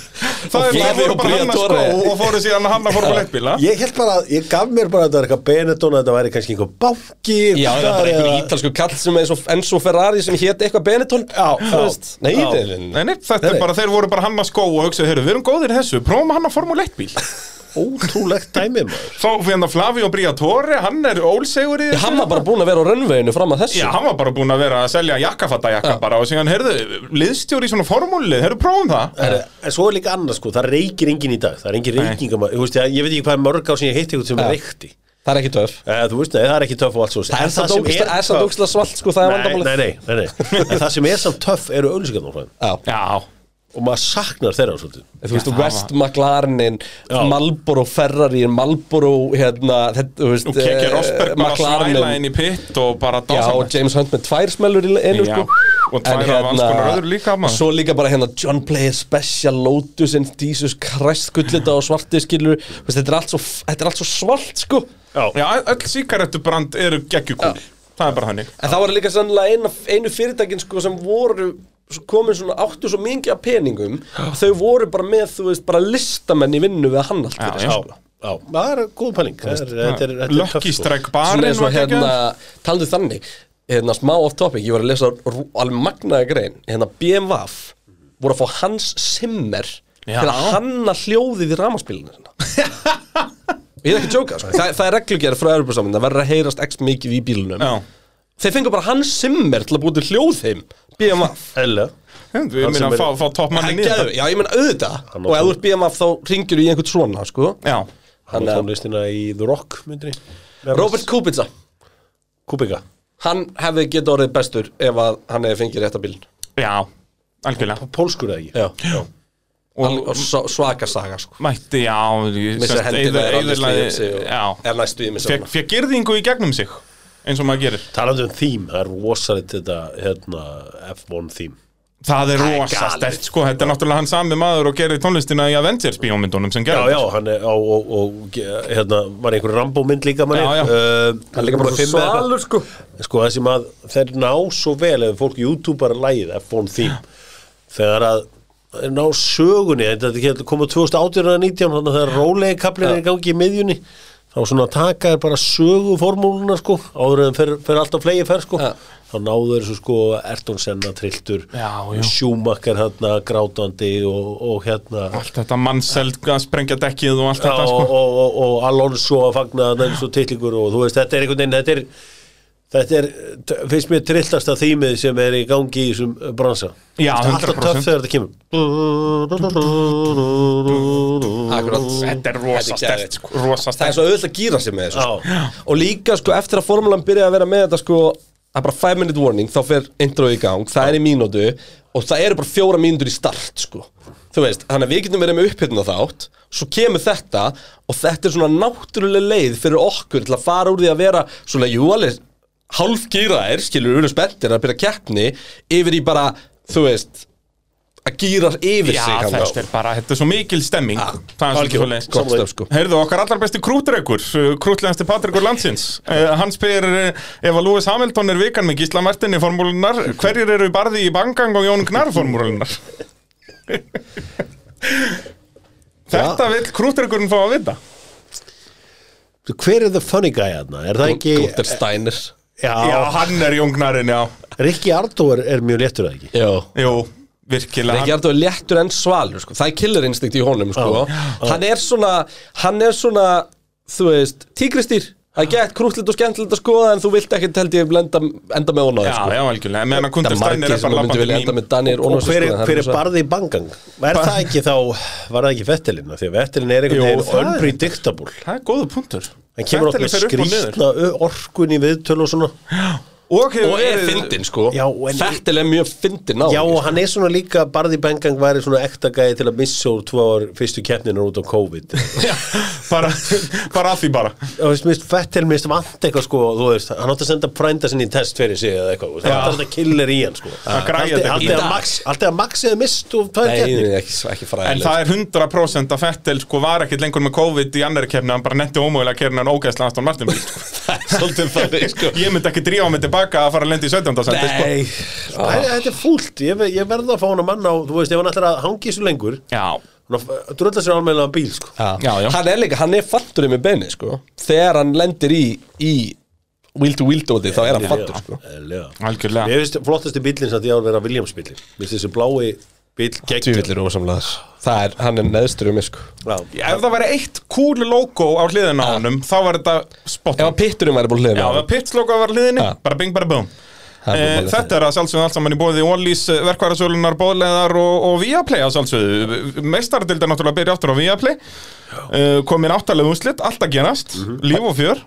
S2: Það er
S1: Og
S2: það
S1: Flavio
S2: voru bara hann að sko
S1: Briatore.
S2: og fóru síðan að hann að fóru bíla
S3: ég held bara, ég gaf mér bara að þetta var eitthvað Benetton að þetta væri kannski einhver banki
S1: Já, það er bara einhver ítalsku kall sem er svo Enzo Ferrari sem hétt eitthvað Benetton
S3: Já,
S1: þú
S3: já.
S1: veist Nei,
S3: Já.
S1: það er-
S2: Nei, nei, þetta er bara, þeir voru bara hann að skó og hugsaði, heyrðu, við erum góðir í þessu, prófum hann að formule 1 bíl
S3: ótrúlegt dæmi
S1: <laughs>
S3: maður
S2: Þá fyrir hann að Flavio Briatore, hann er ólsegur í þessu
S1: Hann var bara búinn að vera á rönnveginu fram að þessu
S2: Já, hann var bara búin að vera að selja jakkafattajakka bara og síðan, heyrðu, liðstjóri í svona formúli, heyrðu, prófum það
S3: En, en svo er líka annað sko, það reykir enginn í dag það er engin um reykinga, ég, ég veit ekki hvað er mörg á sem ég heitti eitthvað sem
S1: Já.
S3: er reykti
S1: Það er ekki töf
S3: Eh, Þú veist, nei, það er ekki töff og allt svo
S1: Það
S3: En
S1: er samt ógeðslega- það er samt
S3: töff-
S1: ógislega svalt, sko, það er
S3: Nei,
S1: vandamálið
S3: nei, nei, nei, nei. En það sem er samt töff eru auðlýsingarnar frá þeim
S1: Já,
S2: Já,
S3: og maður saknar þeirra svolítið
S1: þú veist,
S2: Já, það
S1: West McLarenin,
S3: Já.
S1: Marlboro Ferrari, Marlboro, hérna, þetta, þú veist,
S2: og Kekki
S1: eh,
S2: Rosberg bara að
S1: McLarenin.
S2: svæla inn í pitt og bara
S1: Já,
S2: dása
S1: og James Hunt með tvær smellur í einu,
S2: Já,
S1: sko.
S2: og tvær
S1: En hérna,
S2: af alls konar öðru líka, maður.
S1: Svo líka bara hérna, John Player Special, Lotus and Jesus Christ, gullita og svarti skilur, þú veist, þetta er allt svo, þetta er allt svo svalt, sko.
S2: Já, öll síkarettubrand eru geggjukúl Það er bara þannig
S1: En það var líka sannlega eina, einu fyrirtækin, sko, sem voru svo komin svona áttu svo mikið af peningum og þau voru bara með, þú veist, bara listamenn í vinnu við hann allt
S2: Já,
S1: fyrir,
S2: já.
S1: sko.
S3: Já, já, það er góð pæling Það er- þetta er- þetta er töff,
S2: Lucky
S3: sko.
S2: Strike
S1: Svona
S2: barinn
S1: eins og
S2: var ekki
S1: hérna, taldu þannig hérna smá off topic, ég var að lesa rú- alveg magnaði grein, hérna BMWF voru að fá Hans Zimmer
S2: Já.
S1: til að hanna hljóðið í ramaspilinu sinna Ég er ekki að jóka, sko. Þa, það er reglugjæri frá Europasamund það verður að heyrast x mikið í bílunum
S2: Já.
S1: Þeir fengur bara Hans Zimmer til að búið til hljóð þeim BMWF
S3: Eðlilega.
S2: Ég
S3: Hann
S2: meina
S3: sem
S2: að
S3: er-
S2: fá, fá toppmanni
S1: Hann
S2: nýða
S1: geðu- Já, ég meina auðvitað
S3: Hann á
S1: Og ef þú
S3: tón-
S1: ert BMF þá ringir þú í einhvern svona, sko
S2: Já,
S3: Hann
S1: Þannig
S3: er
S1: að-
S3: tónlistina í The Rock myndri
S1: Robert Kubica,
S3: Kubica
S1: hann hefði getið orðið bestur ef að hann hefði fengið rétt að bílun
S2: já, algjörlega
S3: Pólskur eða ekki
S1: Já, já.
S2: Og
S1: og svo- svaka saga sko
S2: mætti, já
S1: Missa hendina er alveg slegið sig og
S2: Já,
S1: er næstu í missa
S2: fekk fekk girðingu í gegnum sig Eins og maður gerir
S3: Talandi um þým, það er rosalit þetta hérna, F1 þým
S2: Það er
S3: er
S2: rosa
S3: galið.
S2: stert sko, þetta er náttúrulega hann sami maður og gerir tónlistina í Avengers bíómyndunum sem
S3: Já,
S2: gerir
S3: já, hann er, á, og, og hérna, var einhver Rambo mynd líka manni
S2: Já, já.
S3: Uh,
S1: Hann líka bara
S3: númer fimm
S1: svo
S3: eða eitthvað.
S1: svalur, sko.
S3: Sko, það sem að þeir ná svo vel ef fólk youtuber lægið F1 þým þegar að þeir ná sögunni, þetta er ekki að koma 2018 eða 19, þannig að þegar rólegi kaplin er í gangi í miðjunni, þá svona taka er bara sögu formúluna sko áður en fer, fer alltaf flegi fer sko
S1: Já.
S3: þá náðu þeir svo sko Erton Senna trilltur,
S2: Já, já.
S3: Schumacher hérna grátandi og, og hérna
S2: Allt þetta mannseld að sprengja dekkið og allt
S3: Já,
S2: þetta
S3: og,
S2: sko
S3: og, og, og Alonso að fagna þarna eins og titlingur og þú veist, þetta er einhvern veginn þetta er, þetta er t- finnst mér trilltasta þýmið sem er í gangi í þessum uh, bransa
S2: Já,
S3: Þetta er alltaf
S2: 100%.
S3: töff þegar þetta kemur
S1: Akkurat
S2: Þetta er rosa
S1: Þetta er
S2: stert sko, rosa
S1: Það er
S2: stert
S1: svo auðvitað að gýra sig með þessu sko.
S3: Já.
S1: Og líka sko eftir að formulan byrja að vera með þetta sko Það er bara 5 minute warning, þá fer intro í gang Það er í mínútu og það eru bara 4 mínútur í start sko Þú veist, þannig að við getum verið með upphyrna þátt Svo kemur þetta og þetta er svona náttúrulega leið fyrir okkur Til að fara úr því að vera svona, jú alveg Hálfgýraðir, skilur, við erum spenntir að byrja keppni Yfir í bara, þú veist Að gýra yfir
S2: Já,
S1: sig kannski.
S2: þetta er bara, þetta er svo mikil stemming Það er svo
S1: Algjörlega.
S2: leið
S1: Gott stöf sko
S2: Heyrðu, okkar allar besti krútrekur, krútlegasti Patrikur landsins. Uh, hann spyr uh, ef að Lewis Hamilton er vikan með Gísla Martin í formúlunar, hverjir eru í barði í Bangang og Jón Gnar
S1: <laughs>
S2: formúlunar? Þetta vill krútrekurinn fá að vita.
S3: Hver er the funny guy hérna? Er það ekki
S1: Gunther Steiner
S2: Já,
S3: Já,
S2: hann er Jón Gnarinn, já.
S3: Rikki Ardó er, er mjög léttur eða ekki
S1: Já
S2: Jú, virkilega.
S1: Rikki Ardó er léttur en svalur sko. Það er killer instinct í honum sko. Hann er svona Hann er svona Þú veist Tígristýr Það er gett krútlegt og skemmtilegt að skoða En þú vilt ekki held ég enda, enda með honum
S2: Já,
S1: sko.
S2: já, algjörlega. Meðan að
S1: Það
S2: Kundur
S1: er
S2: Steiner
S1: margir
S2: er
S1: sem
S2: bara
S1: myndu vilja enda
S2: labbandi
S1: með Danir sko,
S3: Og hver, sko, er- hver er barði í bangang? Er það ekki þá, var það ekki Vettelina? Því að Vettelina er
S2: Jú, það
S3: einhvern
S2: er-
S3: veginn unpredictable
S2: Það er góðu punktur.
S3: Hann kemur okkur
S2: Vettel fer upp og niður.
S3: skrýstna orkun í viðtölu og svona
S2: Og, hefur
S1: Og er
S2: verið-
S1: fyndin sko
S3: Já, en-
S1: Fettil er mjög fyndin á
S3: Já, og hann er svona líka, Barði Bengang væri svona ektagæði til að missa úr tvö ár fyrstu keppninu út á COVID
S2: <laughs> Já, bara, bara að því bara.
S3: og veist, mist, Fettel mist vant eitthvað sko þú veist, hann átti að senda frænda sinni í test fyrir sig eða eitthvað, þú veist, hann átti að senda killer í hann sko
S2: Að græja þetta
S3: Alltaf-
S2: í dag.
S3: alltaf að Max- alltaf að Max eða mist úr tvær
S1: Nei,
S3: keppnir
S1: nei, ekki, ekki
S2: En
S1: fræðilegt
S2: það er 100% að Fettel sko var ekkit lengur með COVID í annari kefni, hann bara netti ómögulega að kerna hann ógæðslega Aston Martin bíl, sko.
S1: <laughs> Það er svolítið þannig sko
S2: Ég myndi ekki drífa mig tilbaka að fara að lenda í 17. sendi sko.
S1: Nei
S3: Æ,
S2: Ah.
S3: Þetta er fúlt, ég, ve- ég verða að fá hann að manna á, þú veist, ef hann ætlar að hangi svo lengur
S2: Já,
S3: hann drölda sér almennlega bíl sko
S2: Já, já.
S1: Hann er líka, hann er fattur með beini sko Þegar hann lendir í, í Wheel to wheel dóti þá er hann fattur sko
S3: Eðlilega.
S2: algjörlega
S3: Mér finnst flottasti bílinn sem því ár vera Williams bílinn Mér finnst þessi blái bíl geggjur
S1: Tvívillir ósamlegaðar Það er, hann er neðstur um mig sko
S3: Já,
S2: Ef það væri eitt cool logo á hliðina á honum, þá var þetta spot
S1: Ef
S2: on.
S1: að pitturum væri búin
S2: Já,
S1: hliðin á
S2: ef
S1: hann
S2: að Pitts logo var hliðinni,
S1: Já.
S2: bara bing bara boom
S1: Það er
S2: Eh,
S1: bara-
S2: Þetta er að sjálfsögðu allt saman í bóði Ólís, verkvarasölunar, bóðleðar og, og Viaplay að sjálfsögðu Meistardildar náttúrulega byrja aftur á Viaplay uh, Komin áttalega úslit, allt að gerast
S1: Mhm.
S2: Líf og fjör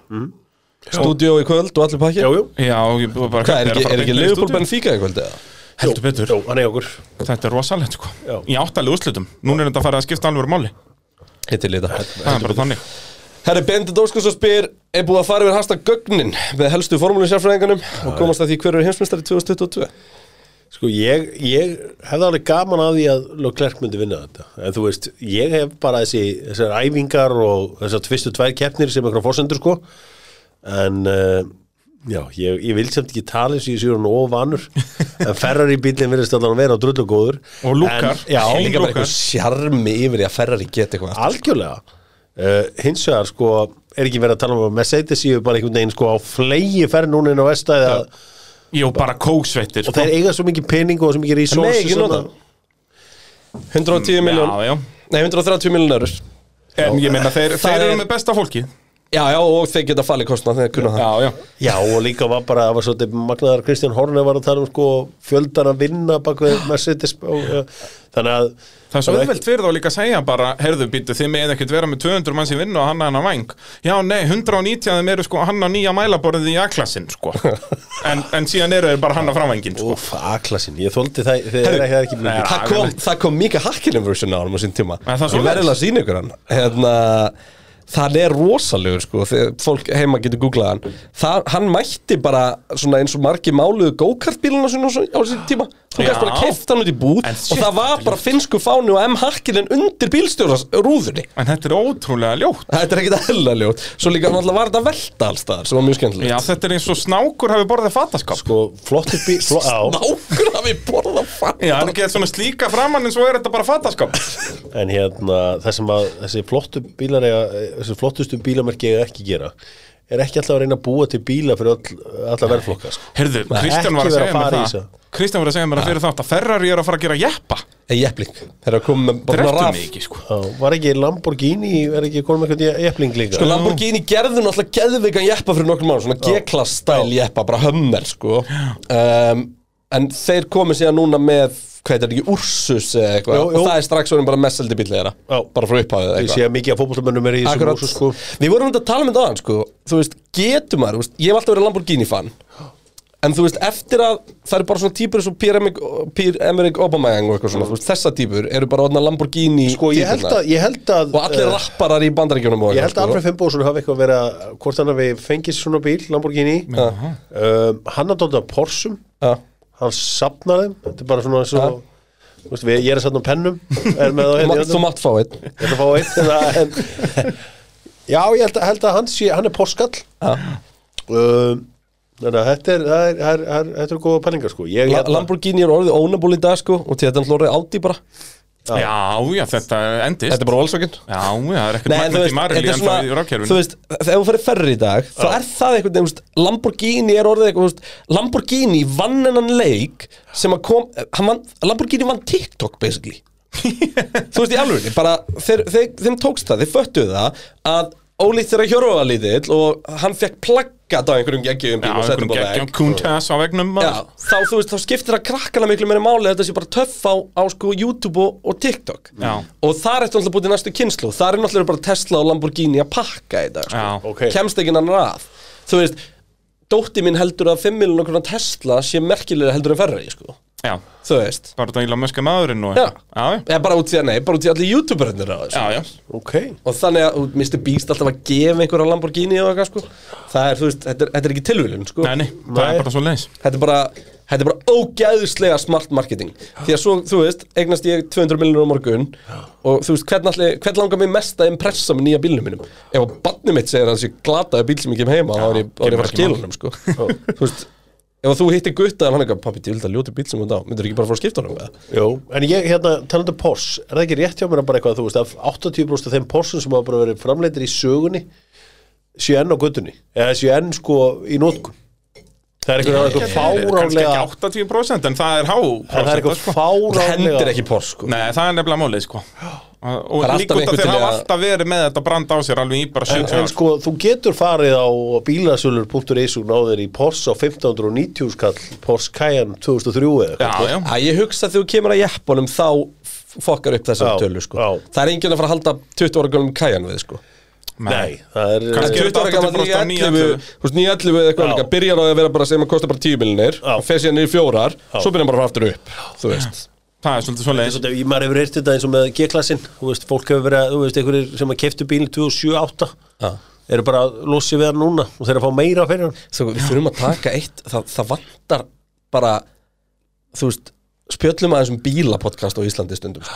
S1: Stúdíó í kvöld og allir pakki
S3: já, já
S2: Já, ég bara
S1: Hvað, er
S2: hvernig
S1: ekki,
S2: að fara
S1: er ekki
S2: beint niður í
S1: Liverpool
S2: stúdíu?
S1: Benfica í kvöld eða?
S2: Heldur betur.
S3: Jó, hann er okkur
S2: Þetta er rosalegt sko
S3: Já.
S2: Í áttalega úrslitum Núna er þetta að fara að skipta alveg máli
S1: Hittir lita
S2: Það er bara þannig
S1: Herri, Bendit Óskarsson spyr Er búið að fara yfir hashtag gögnin Með helstu formúlinu sérfræðingunum Og komast að því hver eru heimsmyndstari 2022
S3: Sko ég, ég hefði alveg gaman að því að Leclerc myndi vinna þetta en þú veist, ég hef bara þessi þessar æfingar og þessar fyrstu tvær keppnir sem eitthvað fórsendur sko en uh, Já, ég, ég vil semt ekki tala eins og ég sé hún <laughs> óvanur en Ferrari bílinn virðist allan að vera drullugóður
S2: Og lúkkar.
S3: En- Já,
S1: Það er líka bara
S2: Lúkar.
S1: eitthvað sjarmi yfir í að Ferrari geta eitthvað
S3: algjörlega uh, hins vegar sko er ekki verið að tala um að Mercedes séu bara einhvern veginn sko á flegi ferð núna inn á vestæði að,
S2: Jó, bara kóksveittir sko.
S3: og þeir eiga svo mikið pening og svo
S1: Það
S3: mikið
S1: megi
S3: resources
S1: ekki nota
S3: að-
S1: 110 miljón,
S2: Já, já
S1: nei 130 miljón eurur
S2: En ég meina, þeir,
S1: Það
S2: þeir eru
S1: er-
S2: með besta fólki
S1: Já, já, og þeir geta fallið kostnað þegar þeir kunna það
S2: Já, já
S3: Já, og líka var bara, það var svolítið magnaðar Kristján Horner var að tala um sko fjöldan að vinna bak við Mercedes og, uh, þannig að
S2: Það er svo auðvelt fyrir þá líka að segja bara Herðu, býttu, þið megið ekkert vera með 200 manns í vinnu og hanna hennar væng Já, nei, 190 af þeim eru sko hanna nýja mælaborðið í A-klassin, sko en, en síðan eru þeir bara hanna framvængin, sko
S3: Úf, aklasin, ég þóldi það, það er ekki, það er ekki mikið
S1: Það kom, það kom Mika Hakkinen version á hann á sín tíma
S2: Er það
S1: Ég
S2: svoleiðis?
S1: verðilega að sína ykkur hann hérna, Það er rosalegur sko Þegar fólk heima getur googlað hann það, Hann mætti bara svona eins og margi máluðu go-kartbíluna sinna á sín- á sín tíma Þú gæst bara
S2: Já.
S1: keft hann út í búð
S2: En
S1: Og
S2: shit,
S1: það var bara finnsku fáni og M. Hakkinen undir bílstjóras rúðunni
S2: En þetta er ótrúlega ljótt
S1: Þetta er ekkit eðlilega ljótt Svo líka hann alltaf var þetta velta alls staðar sem var mjög skemmtilegt
S2: Já, þetta er eins og snákur hafi borðið fataskap
S3: sko, flottir bíl fl á,
S1: Nákvæmlega að við borða fann
S2: Já, hann er ekki svona slíka framann en svo er þetta bara fataskap
S3: en hérna það sem að þessi flottu bílar eiga, þessi flottustu bílamerki eiga ekki gera er ekki alltaf að reyna að búa til bíla fyrir all, alla verðflokka sko.
S2: Herðu,
S3: Nei,
S2: Kristján var
S3: ekki
S2: að
S3: vera
S2: segja mér
S3: að fara í
S2: það Kristján var að segja mér að fyrir þátt að Ferrari er að fara að gera jeppa
S1: Jepling, þegar að koma með bara
S2: Dreftu
S1: raf
S2: mig ekki, sko
S3: Já, var ekki Lamborghini, er ekki konum eitthvað jefling líka
S1: Sko Lamborghini gerðu náttúrulega geðveikan jeppa fyrir nokkur mánu, svona G-klass stæl jeppa, bara hömmel sko um, En þeir komið síðan núna með, hvað heitir þetta ekki, Ursus eða eitthvað
S3: Jú, jú.
S1: Og það er strax orðin bara messeldi bíl þeirra,
S3: Já.
S1: bara frá upphafið eða
S3: ég
S1: eitthvað
S3: sé að mikið af fótbollumönnum er í þessum
S1: Akkurat,
S3: húsu sko.
S1: við vorum þetta að tala með aðan sko Þú veist, getur maður, þú veist, ég hef alltaf verið Lamborghini-fan En þú veist, eftir að það eru bara svona típur eins og Pierre Emerick- Pierre Emerick Aubameyang og eitthvað svona, þú veist, þessa típur eru bara orðna Lamborghini
S3: sko, ég held
S1: típurnar.
S3: að, ég held að
S1: Og allir
S3: eh,
S1: rapparar í bandaríkjunum og
S3: Ég held að
S1: eitthvað, sko.
S3: Alfred Fimboðsson hafi eitthvað verið að hvort hann hafi fengið sér svona bíl, Lamborghini um, hann að dóta Porsum
S1: Já.
S3: hann sapnar þeim þetta er bara svona svo, þú veist, við, ég er að sapna um pennum er með á
S1: Þú
S3: henni
S1: mátt-
S3: hérna.
S1: Þú mátt fá einn
S3: ég ætla að fá eitt en, að- en, já, ég held að, held að hann, sé, hann er porskall um, þannig að þetta er, það er, það er, það er, þetta er góða penningar sko ég,
S1: La
S3: ég,
S1: Lamborghini er orðið ónabúl í dag sko og til þetta er hlórið áti bara
S2: Já, já, þetta endist
S1: Þetta er bara valsókin
S2: Já, já, það er ekkert magnet í Marili en það í
S1: þú
S2: rafkerfinu
S1: veist, ef þú fyrir ferri í dag þá er það einhvern veginn, þú veist, Lamborghini er orðið eitthvað, þú veist, Lamborghini vann hennan leik sem að kom hann vann, Lamborghini vann TikTok basically þú veist, í alveg bara, þeir, þeir, þeim tókst það, þeir föttuðu það að ólíkt þeirra hjörfa lítill og hann fekk plaggat á einhverjum geggjum
S2: Já,
S1: bíl og settum
S2: einhverjum
S1: bara
S2: geggjum kúntas á vegnum maður.
S1: Já, þá, þú veist, þá skiptir það krakkana miklu meira máli að þetta sé bara töff á, á sko YouTube og, og TikTok
S2: Já.
S1: og þar ertu alltaf búið í næstu kynslu þar er náttúrulega bara Tesla og Lamborghini að pakka í dag sko.
S2: Já.
S3: Ok.
S1: kemst ekki annar að þú veist, dótti mín heldur að 5 miljonar okkur Tesla sé merkilega heldur en ferri sko.
S2: Já,
S1: þú veist,
S2: bara það íla möskja maðurinn og
S1: já,
S2: já, já,
S1: Eða bara út í að nei bara út í að allir YouTuberarnir á þessu
S2: já, já.
S3: ok,
S1: og þannig að og Mr. Beast alltaf að gefa einhverja Lamborghini og eitthvað sko. það er, þú veist, þetta er, þetta er ekki tilvílun sko.
S2: Nei, nei, það
S3: Nei.
S2: er bara svo leis
S1: Þetta er bara, þetta er bara ógæðislega smart marketing Því að svo, þú veist, eignast ég 200 miljonur á morgun Og þú veist, hvern, alli, hvern langar mig mest að impressa með nýja bílnum mínum Ef að barnið mitt segir að þessi glataði bíl sem ég kem heima Þá er ég, þá er ég bara að skila honum, sko Þú veist, ef að þú hittir gutta En hann eitthvað, pappi, ég vil það ljóti bíl sem hún á Myndur ekki bara fara að skipta honum með
S3: jú en ég, hérna, talandi um Porsche, er það ekki rétt hjá mér að bara eitthvað, þú veist, að 80% af þeim Porsche sem hafa bara verið framleitir í sögunni séu enn á göttunni eða séu enn sko í nótkun það er eitthvað, eitthvað
S2: Kannski
S3: fáránlega en
S2: ekki 80% en það er há
S3: það er eitthvað
S2: sko.
S1: Það hendir
S3: fáránlega
S1: ekki pors, sko
S2: Nei, það er nefnilega mólið sko Og
S1: Það er
S2: líka
S1: alltaf
S2: út að
S1: einhver
S2: þeir
S1: til
S2: hafa
S1: að-
S2: alltaf verið með þetta brand á sér alveg í bara 70
S3: En
S2: ár
S3: sko, þú getur farið á bílasölur.is og náður í Porsche á 1590 skall Porsche Cayenne 2003 eða
S2: Já,
S3: eitthvað.
S2: já,
S1: Að ég hugsa að þegar þú kemur að jeppunum þá f- fokkar upp þessar
S3: Já,
S1: tölu sko.
S3: já.
S1: Það er enginn að fara að halda 20 ára gölum kæjan við sko.
S3: Nei, það er
S2: Kannski-
S3: eh,
S1: 20 ára gammal
S2: 80% af
S1: 911 þú veist, 911 eða eitthvað
S3: Já.
S1: líka byrjar á því að vera bara sem að kosta bara 10 miljonir
S3: Já.
S1: og fer síðan niður í fjórar svo byrjar hann bara að fara aftur upp þú veist
S2: það er svolítið svo leis
S3: Svolítið, ég maður hefur reyrt þetta eins og með G-klassin þú veist, fólk hefur verið, að- þú veist, einhverjir sem að keftu bílinn 2078
S1: Já.
S3: eru bara að lossi við hann núna og þeir eru að fá meira fyrir hann
S1: Svo, Sko, við þurfum að taka eitt það, það vantar bara þú veist spjöllum aðeins um bílapodcast á Íslandi stundum sko.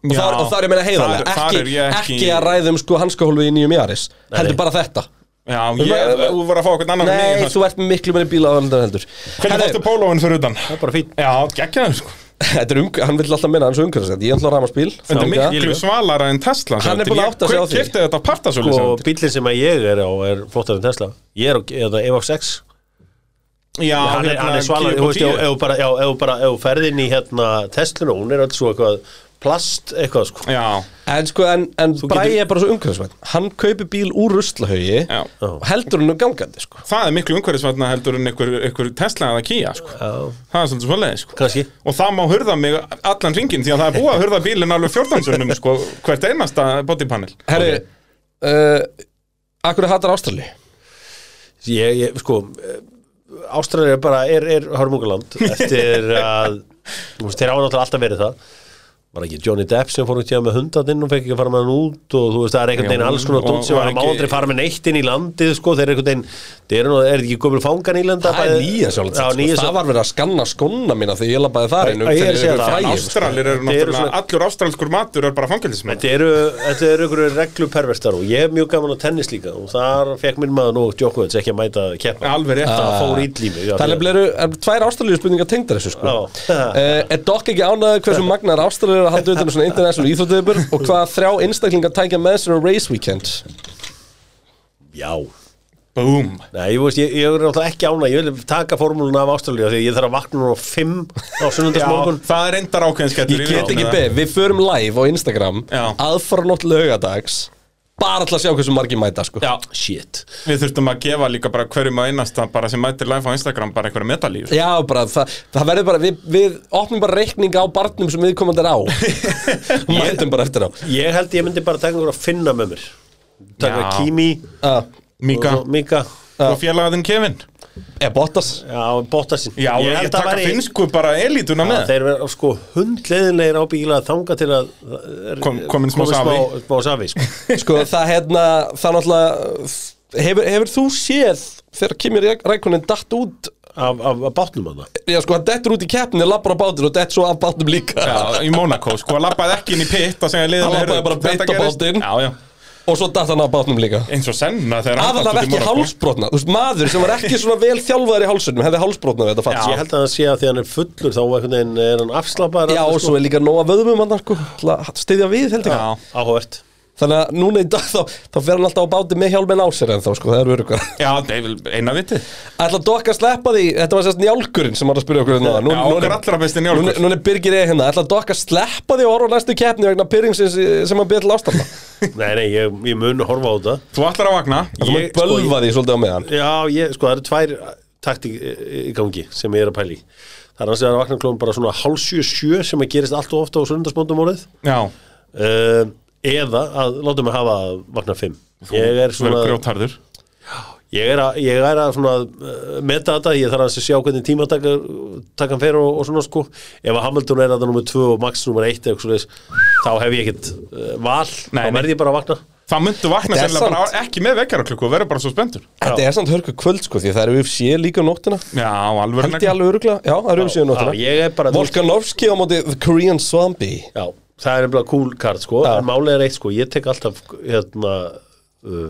S1: og,
S2: Já.
S1: þar, og þar er meina heiðarlega
S2: Þar- þar
S1: ekki, um,
S2: er
S1: ekki...
S2: ég ekki-
S1: að ræðum sko hanskahólfi í nýjum jaris heldur bara þetta
S2: Já, ég, þú var að fá eitthvað annan
S1: Nei,
S2: þú
S1: þú ert miklu meiri bíla aðalendar heldur
S2: Hvernig
S1: Herðu,
S2: fórstu pólóin fyrir utan?
S3: það er bara fín
S2: Já, geggjaður sko
S1: Þetta er umg- Hann vill alltaf minna hans umhverfisend Ég er alltaf ramaspíl
S2: Þetta er
S3: ég
S2: miklu
S3: líka.
S2: svalara en Tesla
S1: Hann er búinn að átta sig á því. Sko,
S2: Ég kipti þetta á partasölu
S3: og bílinn sem að ég er á er flottar en Tesla ég er á eða EVOX X
S2: Já, hérna,
S3: hann er, hann er svalar þú veist, ef ef þú bara, já, ef þú bara, ef þú ferð inn í hérna Tesluna, hún er alls svo eitthvað plast eitthvað sko
S2: Já,
S1: En sko, en, en Bræi
S3: getur-
S1: er bara svo umhverfisvæn Hann kaupir bíl úr ruslahaugi
S2: Já.
S1: og heldur hann um gangandi sko.
S2: það er miklu umhverfisvætna heldur en einhver, einhver Tesla eða Kia sko.
S3: Já.
S2: Það er svolítið svolítið sko.
S3: kannski
S2: Og það má hurða mig allan ringin Því að það er búið að hurða bílinn alveg 14 sunnum sko, Hvert einasta bodypanel
S1: Herri, okay. uh, Akkur hattar Ástrali
S3: ég, ég sko Ástralja er bara, er, er hörmungaland eftir að þú veist, þeir hafa náttúrulega alltaf verið það var ekki Johnny Depp sem fór út hjá með hundatinn og fekk ekki að fara með hann út og þú veist það er einhvern veginn
S2: Jú,
S3: alls konar
S2: og
S3: dótt sem
S2: var
S3: var að má
S2: ekki-
S3: aldrei fara með neitt inn í landið sko, þeir eru einhvern veginn þeir eru nú, er ekki gömul fangan í landa
S1: Það er nýja sko. sjálf
S3: já, nýja
S1: Það var verið að skanna skóna mína þegar ég labbaði þar um inn
S3: Já, ég er að segja það.
S1: frægir, sko.
S2: Ástralir eru
S3: Þeir eru
S2: náttúrulega
S3: svona-
S2: Allur ástralskur matur er bara fangelsismenn
S3: Þetta eru, þetta eru einhverju regluperverstar og ég hef mjög gaman á tennis líka og þar fekk minn maður nú Djokovic ekki að mæta að keppa
S2: Alveg rétt
S3: það
S2: að
S3: fór ítli mig
S1: Það
S3: já,
S1: er
S3: því að-
S1: nefnilega um, eru- er tvær ástralíu spurningar tengdar þessu sko
S3: Já.
S1: <laughs>
S3: <laughs>
S1: uh, Er Dokk ekki ánæður hversu magnar ástralíu er að halda utan á svona international íþróttöfur og hvaða þrjá einstaklingar tækja með sér á race weekend
S3: já,
S2: Búm
S3: Nei, ég veist, ég, ég er náttúrulega ekki ána, ég vil taka formúluna af Ástralíu af því að ég þarf að vakna núna á 5
S2: <laughs>
S3: á
S2: Já,
S3: sunnundasmorgun
S2: það er endar ákveðinskettur
S1: Ég get ekki beð, við förum live á Instagram
S2: Já.
S1: aðfara nótt lögadags bara alltaf að sjá hversu margir mæta sko
S2: Já,
S3: Shit
S2: við þurftum að gefa líka bara hverjum að einasta bara sem mætir live á Instagram bara einhverja metalíf
S1: Já, bara, það, það verður bara, við, við opnum bara reikning á barnum sem við komandi er
S2: <laughs>
S1: á Mætum bara eftir á
S3: Ég held ég myndi bara taka einhverja að finna með mér Taka
S2: Já.
S3: Kimi
S1: uh,
S2: Mika,
S3: og Mika
S2: og félagaðin Kevin
S1: Er Bottas?
S3: Já, Bottasinn
S2: Já, ég,
S3: held að
S2: taka
S3: væri-
S2: finnsku bara elítuna
S3: Já,
S2: með
S3: Þeir verða sko hundleiðinlegir á bíla þanga til að eh,
S2: Kom- komin smá safi.
S3: Smá safi, sko
S1: Sko, það hérna, það náttúrulega Hefur, hefur þú séð þegar Kimi Rækonin datt út
S3: Af, af, af bátnum hana
S1: Já, sko, hann dettur út í keppni, lappar á bátur og dett svo af bátnum líka
S2: Já, í Monaco, sko, hann lappaði ekki inn í pitt að segja liðinu
S1: Hann labbaði
S2: heyrðu,
S1: bara beint
S2: þetta
S1: á
S2: gerist.
S1: bátinn.
S2: Já, já,
S1: Og svo datt hann af bátnum líka
S2: eins og senna þegar hann datt
S1: Aðalega
S2: út í
S1: ekki
S2: Monaco.
S1: hálsbrotna Þú veist, maður sem var ekki svona vel þjálfaður í hálsunum hefði hálsbrotna við þetta fatt
S3: Ég held að það sé að því hann er fullur þá einhvern veginn er hann sko. afslapar
S1: Já, og svo er líka nóg að vöðumum hann, sko til að Styðja við, held ég
S2: Já,
S3: Áhvert
S1: Þannig að núna í dag þá, þá fer hann alltaf á báti með hjálminn á sér en þá sko, það eru <laughs> örugar.
S2: já, það er vel eina vitið
S1: Ætla Dokk að sleppa því, þetta var sérst njálkurinn sem var að spyrja okkur hérna. áðan. Nú,
S2: Já, okkar allra besti Njálkur.
S1: Nú, nú er Birgir E hérna, ætla Dokk að sleppa því og orða næstu keppni vegna pyrringsins sem hann byrði til ástanda.
S3: Nei, nei, ég, ég mun horfa á þetta
S2: Þú ætlar að vakna
S1: Þú
S3: Ég-
S1: maður bölva því svolítið á meðan.
S3: Já, ég, sko, það eru tvær taktík eh, í gangi sem ég er að pæla í Það er hans vegar að vakna klóðum bara svona hálsjö sjö sem að gerist allt og ofta á sunnundasmóndum árið
S2: Já,
S3: uh, eða að láta mig hafa að vakna fimm Ég er
S2: þú er
S3: svona
S2: grjótharður
S3: ég er að, ég er að svona eh, meta þetta, ég þarf að sjá hvernig tíma taka, taka hann fer og, og svona sko ef að Hamilton er að það nummer 2 og Max nummer 1 eða eitthvað svoleiðis, þá hef ég ekkert uh, val,
S2: Nei,
S3: þá
S2: nei.
S3: verð ég bara að vakna
S2: Það myndu vakna
S1: Þetta er
S2: sennilega bara
S1: samt-
S2: á- ekki með vekjaraklukku og verður bara svo spendur
S1: Þetta er samt hörku kvöld sko, því það eru UFC líka á nóttina.
S2: Já, alveg
S1: Held ég alveg örugla, já, það eru UFC á nóttina.
S3: Já, ég er bara-
S1: Volkanovski á móti The Korean Zombie.
S3: Já, það er nefnilega cool card sko, en málið er eitt sko, ég tek alltaf hérna uh,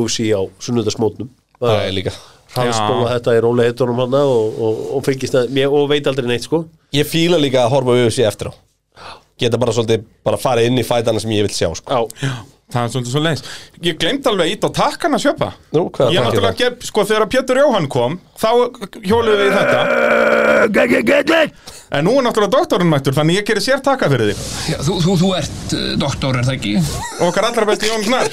S3: UFC á sunnudasmótnum
S1: Það er líka.
S3: Hransbóla þetta í rólega heitunum hann og, og, og fylgist að, mér, og veit aldrei neitt sko
S1: Ég fíla líka að horfa á UFC eftir á. Geta bara svolítið, bara farið inn í fætana sem ég vil sjá
S3: <laughs>
S1: sko.
S3: Já,
S2: Já, það er svolítið svo leiðis Ég glemd alveg að íta á takkana sjöpa
S1: Nú, hvað er
S2: Ég
S1: takkið
S2: náttúrulega
S1: það?
S2: gef, sko þegar Pétur Jóhann kom Þá hjóluðum við í þetta En nú er náttúrulega doktorinn mættur Þannig ég gerir sér takka fyrir þig
S4: Já, þú, þú, þú ert uh, doktor, er það ekki?
S2: Og okkar allra besti Jón Gnarr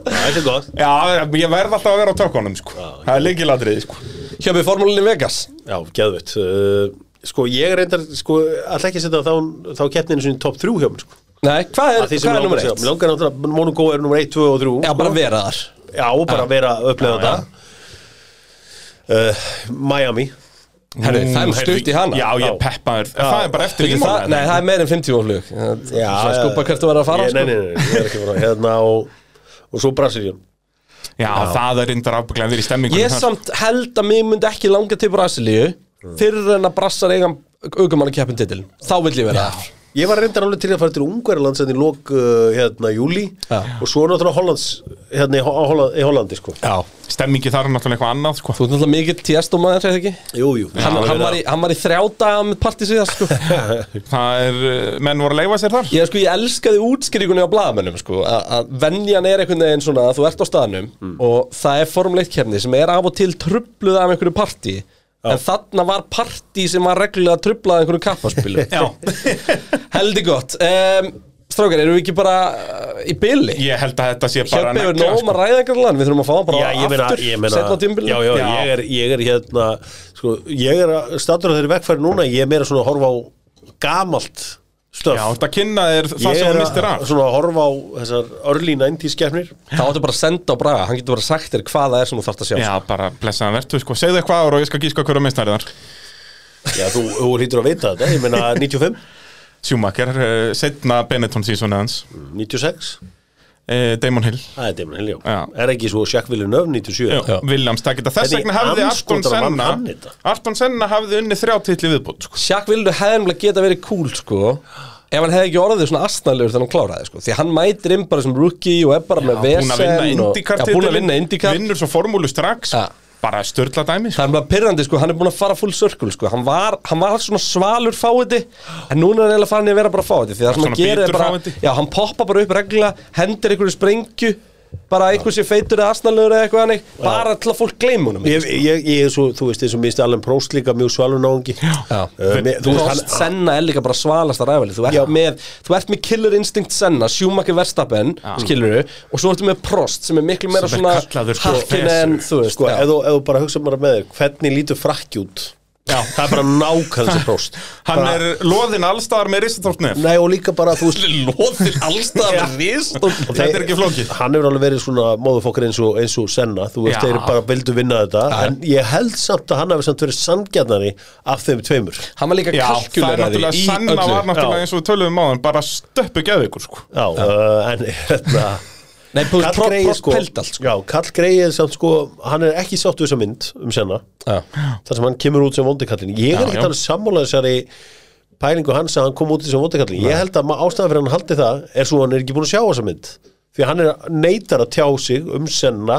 S3: það er gott
S2: Já, ég verð alltaf að vera á tökunum sko Það er líkilatriði sko
S1: Hjöfum formúlinni Vegas
S3: Já, geðvett uh, Sko, ég reyndar, sko, alltaf ekki að setja þá, þá keppninu sinni top 3 hjá mér sko
S1: Nei, hvað er,
S3: Að því sem
S1: hvað er
S3: mig
S1: nummer
S3: langar að segja.
S1: 1?
S3: Mér langar náttúrulega, Monaco er nummer 1, 2 og 3
S1: Já, bara vera þar
S3: Já, og bara vera að upplega þetta uh, Miami
S1: Herri, það er nú
S2: Heyrðu,
S1: stutt í hana
S2: Mm, Já, ég
S3: Mm, Já.
S2: peppaður Það er bara eftir
S1: Bíddu, það,
S2: ímála
S1: Nei, það er meir en 50 og flug Það
S3: já,
S1: skupa
S3: já.
S1: hvert þú verður að fara sko.
S3: ég, nei, nei, nei, nei, ég er ekki að fara hérna og, og svo Brasilíum
S2: Já, það er reyndar ábygglega verið í stemmingunum
S1: Ég
S2: þar.
S1: samt held að mér myndi ekki
S3: Mm.
S1: langa til Brasilíu Fyrir en að brassar eiga aukumann að keppin titil Þá vill ég vera þar
S3: Ég var reyndar alveg til að fara til Ungverðlands en í lók uh, hérna júli
S1: Já.
S3: og svo náttúrulega Hollands hérna í, Ho- á Holla- í Hollandi sko
S1: Já,
S2: Stemmingi þar er náttúrulega eitthvað annað sko.
S1: þú ert náttúrulega mikill tiesto maður, segir ekki?
S3: Jú, jú
S1: Hann, hann, var í, hann var í þrjá daga með partí síðast
S3: <laughs>
S1: sko.
S2: Það er, uh, menn voru að leifa sér þar
S1: Ég, sko, ég elskaði útskýringunni á blaðamönnum sko, að- að venjan er einhvern veginn svona að þú ert á staðnum
S3: Mm.
S1: og það er formuleitt kemni sem er af og til trubluð af einhverju partí en þarna var partí sem var reglulega trublað af einhverju
S3: <laughs>
S1: kappaspilu <laughs> Heldi gott um, Strákar, erum við ekki bara uh, í byli?
S2: Ég held að þetta sé bara sko.
S1: Kjöppi hefur
S2: negla,
S1: nóg um að ræða einhvern land Við þurfum að fá hann bara
S3: sko. Já, ég meina,
S1: aftur
S3: ég meina
S1: seinna á tímabilinu.
S3: já, já,
S2: Já.
S3: Ég, er, ég er hérna sko, ég er að statur á þeirri vegfæri núna ég er meira svona að horfa á gamalt
S2: Já,
S3: stöf
S2: þetta kynna er það
S3: Ég
S2: sem
S3: er
S2: þú
S3: að,
S2: mistir af
S3: svona að horfa á þessar early 90s skefnir
S1: Þá áttu bara að senda á Braga Hann getur bara sagt þér hvað það er sem þú þarft að sjá
S2: Já, bara blessaðan vertu, sko, segðu eitthvað ára og ég skal gíska hverju meistari þar
S3: Já, þú, þú hlýtur að vita þetta, ég meina 95,
S2: Sjúmakar, uh, setna Benetton sísoni hans,
S3: 96
S2: uh, Damon Hill
S3: Það er Damon Hill, já
S2: Já.
S3: Er ekki svo Jack Villeneuve 97
S2: Jú, Williams, það geta þess
S3: Þetta
S2: vegna
S3: í
S2: hafði Arton
S3: andskotanum vann
S2: Senna
S3: hann þetta.
S2: Arton Senna hafði unni þrjá titli viðbútt sko.
S1: Sjakk Vildu hefði nefnilega geta verið cool sko Ef hann hefði ekki orðið svona astnalegur þannig hann kláraði sko Því hann mætir inn bara sem rookie og er bara með
S2: búin að vinna
S1: vesen og-
S2: IndyCar
S1: Já, búin að vinna IndyCar
S2: vinnur svo formúlu strax
S1: Ja.
S2: bara störla dæmi sko.
S1: Það er bara pyrrandi sko, hann er búin að fara full circle sko Hann var, hann var svona svalur fáiði En núna er hann eiginlega farin í að vera bara fáiði Því það sem
S2: Svona
S1: hann gerir er
S2: bitur
S1: bara
S2: fáviti.
S1: Já, hann poppa bara upp reglulega, hendir einhverju sprengju Bara einhver sé feitur eða asnalegur eða eitthvað hannig Bara til að fólk gleyma honum
S3: Ég, ég, ég er svo, þú veist, eins og minnst Allen Prost líka mjög svalur náungi Eh,
S1: Já.
S3: Þú
S1: Þú
S3: veist,
S1: veist,
S3: hann
S1: Senna er líka bara svalasta ræfæli Þú
S3: Já.
S1: ert með, þú ert með killer instinct Senna Schumacher Verstappen, skilur við Og svo ertu með Prost sem er miklu meira
S2: Sem er
S1: svona
S2: kallaður, sko,
S1: Harkin en þú veist
S3: Sko,
S1: já.
S3: ef þú, ef þú bara hugsa bara með þér Hvernig lítur frakki út
S2: Já.
S3: Það er bara nákvæmlega sem Prost
S2: <laughs> hann
S3: bara,
S2: er loðin allstaðar með Ristatórnef
S3: Nei, og líka bara, þú veist
S2: <laughs>
S1: Lóðir allstaðar rist
S2: og þetta er ekki flókið
S3: Hann hefur alveg verið svona móðufokkar eins og, eins og Senna Þú veist,
S2: Já.
S3: þeir bara vildu vinna þetta En ég held samt að hann hefur samt verið sangjarnari Af þeim tveimur
S1: Hann var líka
S2: Já, það er
S1: kalkuleraði
S2: náttúrulega
S1: í
S2: sanna var
S1: öllu
S2: náttúrulega
S3: Já.
S2: eins og við töluðum á hann bara stöppu geðvikur sko
S3: Já, uh, en hérna
S1: Nei, þú veist,
S3: Kall
S1: Prost
S3: Greið
S1: Prost
S3: sko,
S1: pældi allt sko
S3: Já, Kall Greið er samt sko Hann er ekki sátt við þessa mynd um senna
S1: Já.
S3: þar sem hann kemur út sem vondikallin ég
S2: Já,
S3: er ekkert
S2: já.
S3: alveg sammála þessari pælingu hans að hann kom út sem vondikallin ég held að ma- ástæðan fyrir hann haldi það er svo hann er ekki búin að sjá þessa mynd því að hann er neitar að tjá sig um senna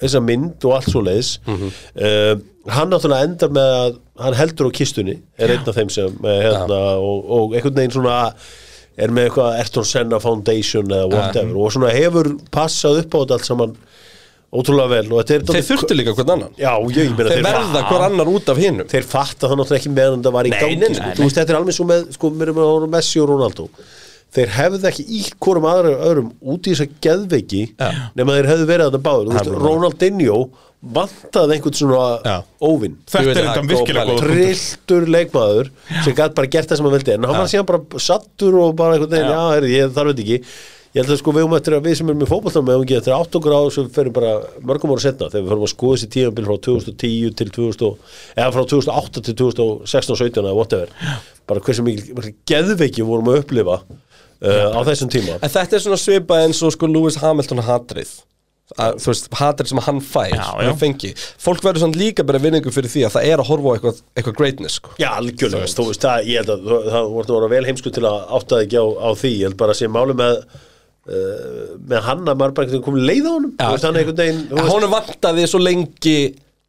S3: þessa mynd og allt svo leiðis
S1: Mhm.
S3: hann náttúrulega endar með að hann heldur á kistunni er einn af þeim sem eh, hérna, og, og einhvern veginn svona er með eitthvað Ayrton Senna Foundation eða whatever og svona hefur passað upp á þetta allt saman ótrúlega vel og þetta er
S1: Þeir þurftu líka hvern annan
S3: Já, ég, ég meina
S1: Þeir verða hver annar út af hinum
S3: þeir fatta það náttúrulega ekki meðan það var í
S1: Nei,
S3: gangi
S1: nei, nei,
S3: sko.
S1: nei.
S3: þú veist þetta er alveg svo með sko, mér erum að honum Messi og Ronaldo þeir hefðu ekki ítt hvorum aðra öðrum út í þessa geðveiki
S1: Já.
S3: nema þeir hefðu verið að það báður þú veist, Ronaldinho vantaði einhvern svona
S1: Já.
S3: óvinn
S1: Ég
S2: þetta
S1: veit
S2: er
S1: að
S2: þetta
S1: það er
S2: virkilega
S1: góð
S2: góð
S3: trilltur leikmaður sem gæti bara gert það sem hann vildi en hann var síðan bara sattur og bara einhvern veginn, já, heyrðu, ég þarf þetta ekki ég held að sko við um eftir að við sem erum í fótboltan með um ekki eftir átt okkur á sem við ferum bara mörgum ára setna þegar við ferum að skoða þessi tíðanbíl frá 2010 til 2000 og- eða frá 2008 til 2016 og 17 eða whatever bara hversu mikil mikil geðveiki við vorum að upplifa uh, á þessum tíma
S1: En þetta er svona svipað eins og sko Lewis Hamilton hatrið að, Þú veist, hatrið sem hann fær
S2: Já,
S1: hann
S2: já.
S1: fengi. Fólk verður svona líka bara vinningu fyrir því að það er að horfa á eitthvað, eitthvað greatness sko.
S3: Já, algjörlega, þú veist, það, ég held að þú- það voru að vera vel heimsku til að áttaði ekki á, á því, ég held bara að sé máli með uh, með hann að maður bara einhvern veginn komið leið á honum, þú veist, hann einhvern veginn þú veist,
S1: Hún vantaði svo lengi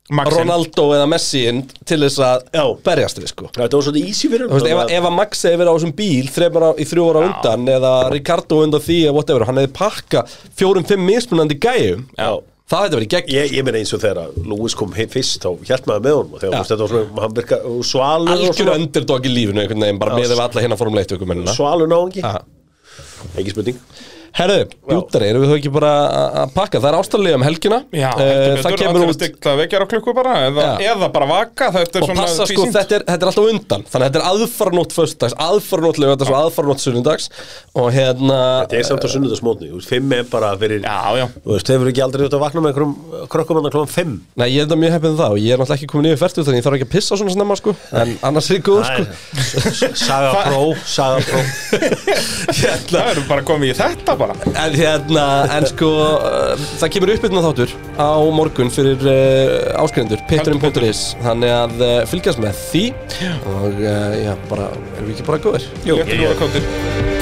S2: Maxinn.
S1: Ronaldo eða Messi til þess að
S3: Já.
S1: berjast við sko.
S3: þetta var svolítið easy fyrir
S1: Þú veist, ef,
S3: hann
S1: ef að Max hefði verið á þessum bíl þreymar á, í þrjú ára undan eða Ricardo undan því eða whatever, hann hefði pakka fjórum-fimm mismunandi gæjum
S3: Já.
S1: það hefði verið gegn
S3: Ég, ég meina eins og þegar að Lewis kom heim fyrst þá hjælt maður með honum og þegar þú veist, þetta var svona, hann virka svalur og
S1: algjör
S3: svona,
S1: underdog í lífinu einhvern veginn, bara með við alla hérna formuleitt ykkur mennina
S3: svalur náðungi
S1: Aha.
S3: ekki spurning
S1: Herðu, bjúttari, erum við þó ekki bara að- að pakka það er ástæðlega um helgina
S2: Já,
S1: Eh,
S2: heldur
S1: það
S2: betur,
S1: kemur
S2: allir að
S1: út
S2: stikla vekjar á klukku bara eða,
S1: Já.
S2: eða bara vaka, þetta er
S1: og
S2: svona
S1: passa sko,
S2: tvísýnt.
S1: þetta er, þetta er alltaf undan þannig að þetta er aðfarnót föstudags, aðfarnót lögadags og aðfarnót sunnudags og hérna
S3: þetta er samt á sunnudagsmótni, þú veist, fimm er bara fyrir,
S2: Já,
S1: <laughs>
S2: já,
S3: þú veist, þeir eru ekki aldrei út að vakna með einhverjum krökkum andan klokkan fimm
S1: Nei, ég er þetta mjög heppið um það og ég er náttúrulega ekki komin yfir fært þannig ég þarf ekki að pissa svona snemma sko en annars er ég góð sko
S3: Saga Pro, Saga Pro
S2: það eru bara komið í þetta bara bara
S1: En hérna, en sko uh, Það kemur uppbytna þáttur á morgun fyrir uh, áskrifundur Petrin.is, þannig að uh, fylgjast með því og uh, já, bara, eh, erum við ekki bara góðir?
S2: Jú, ég er góður kóttir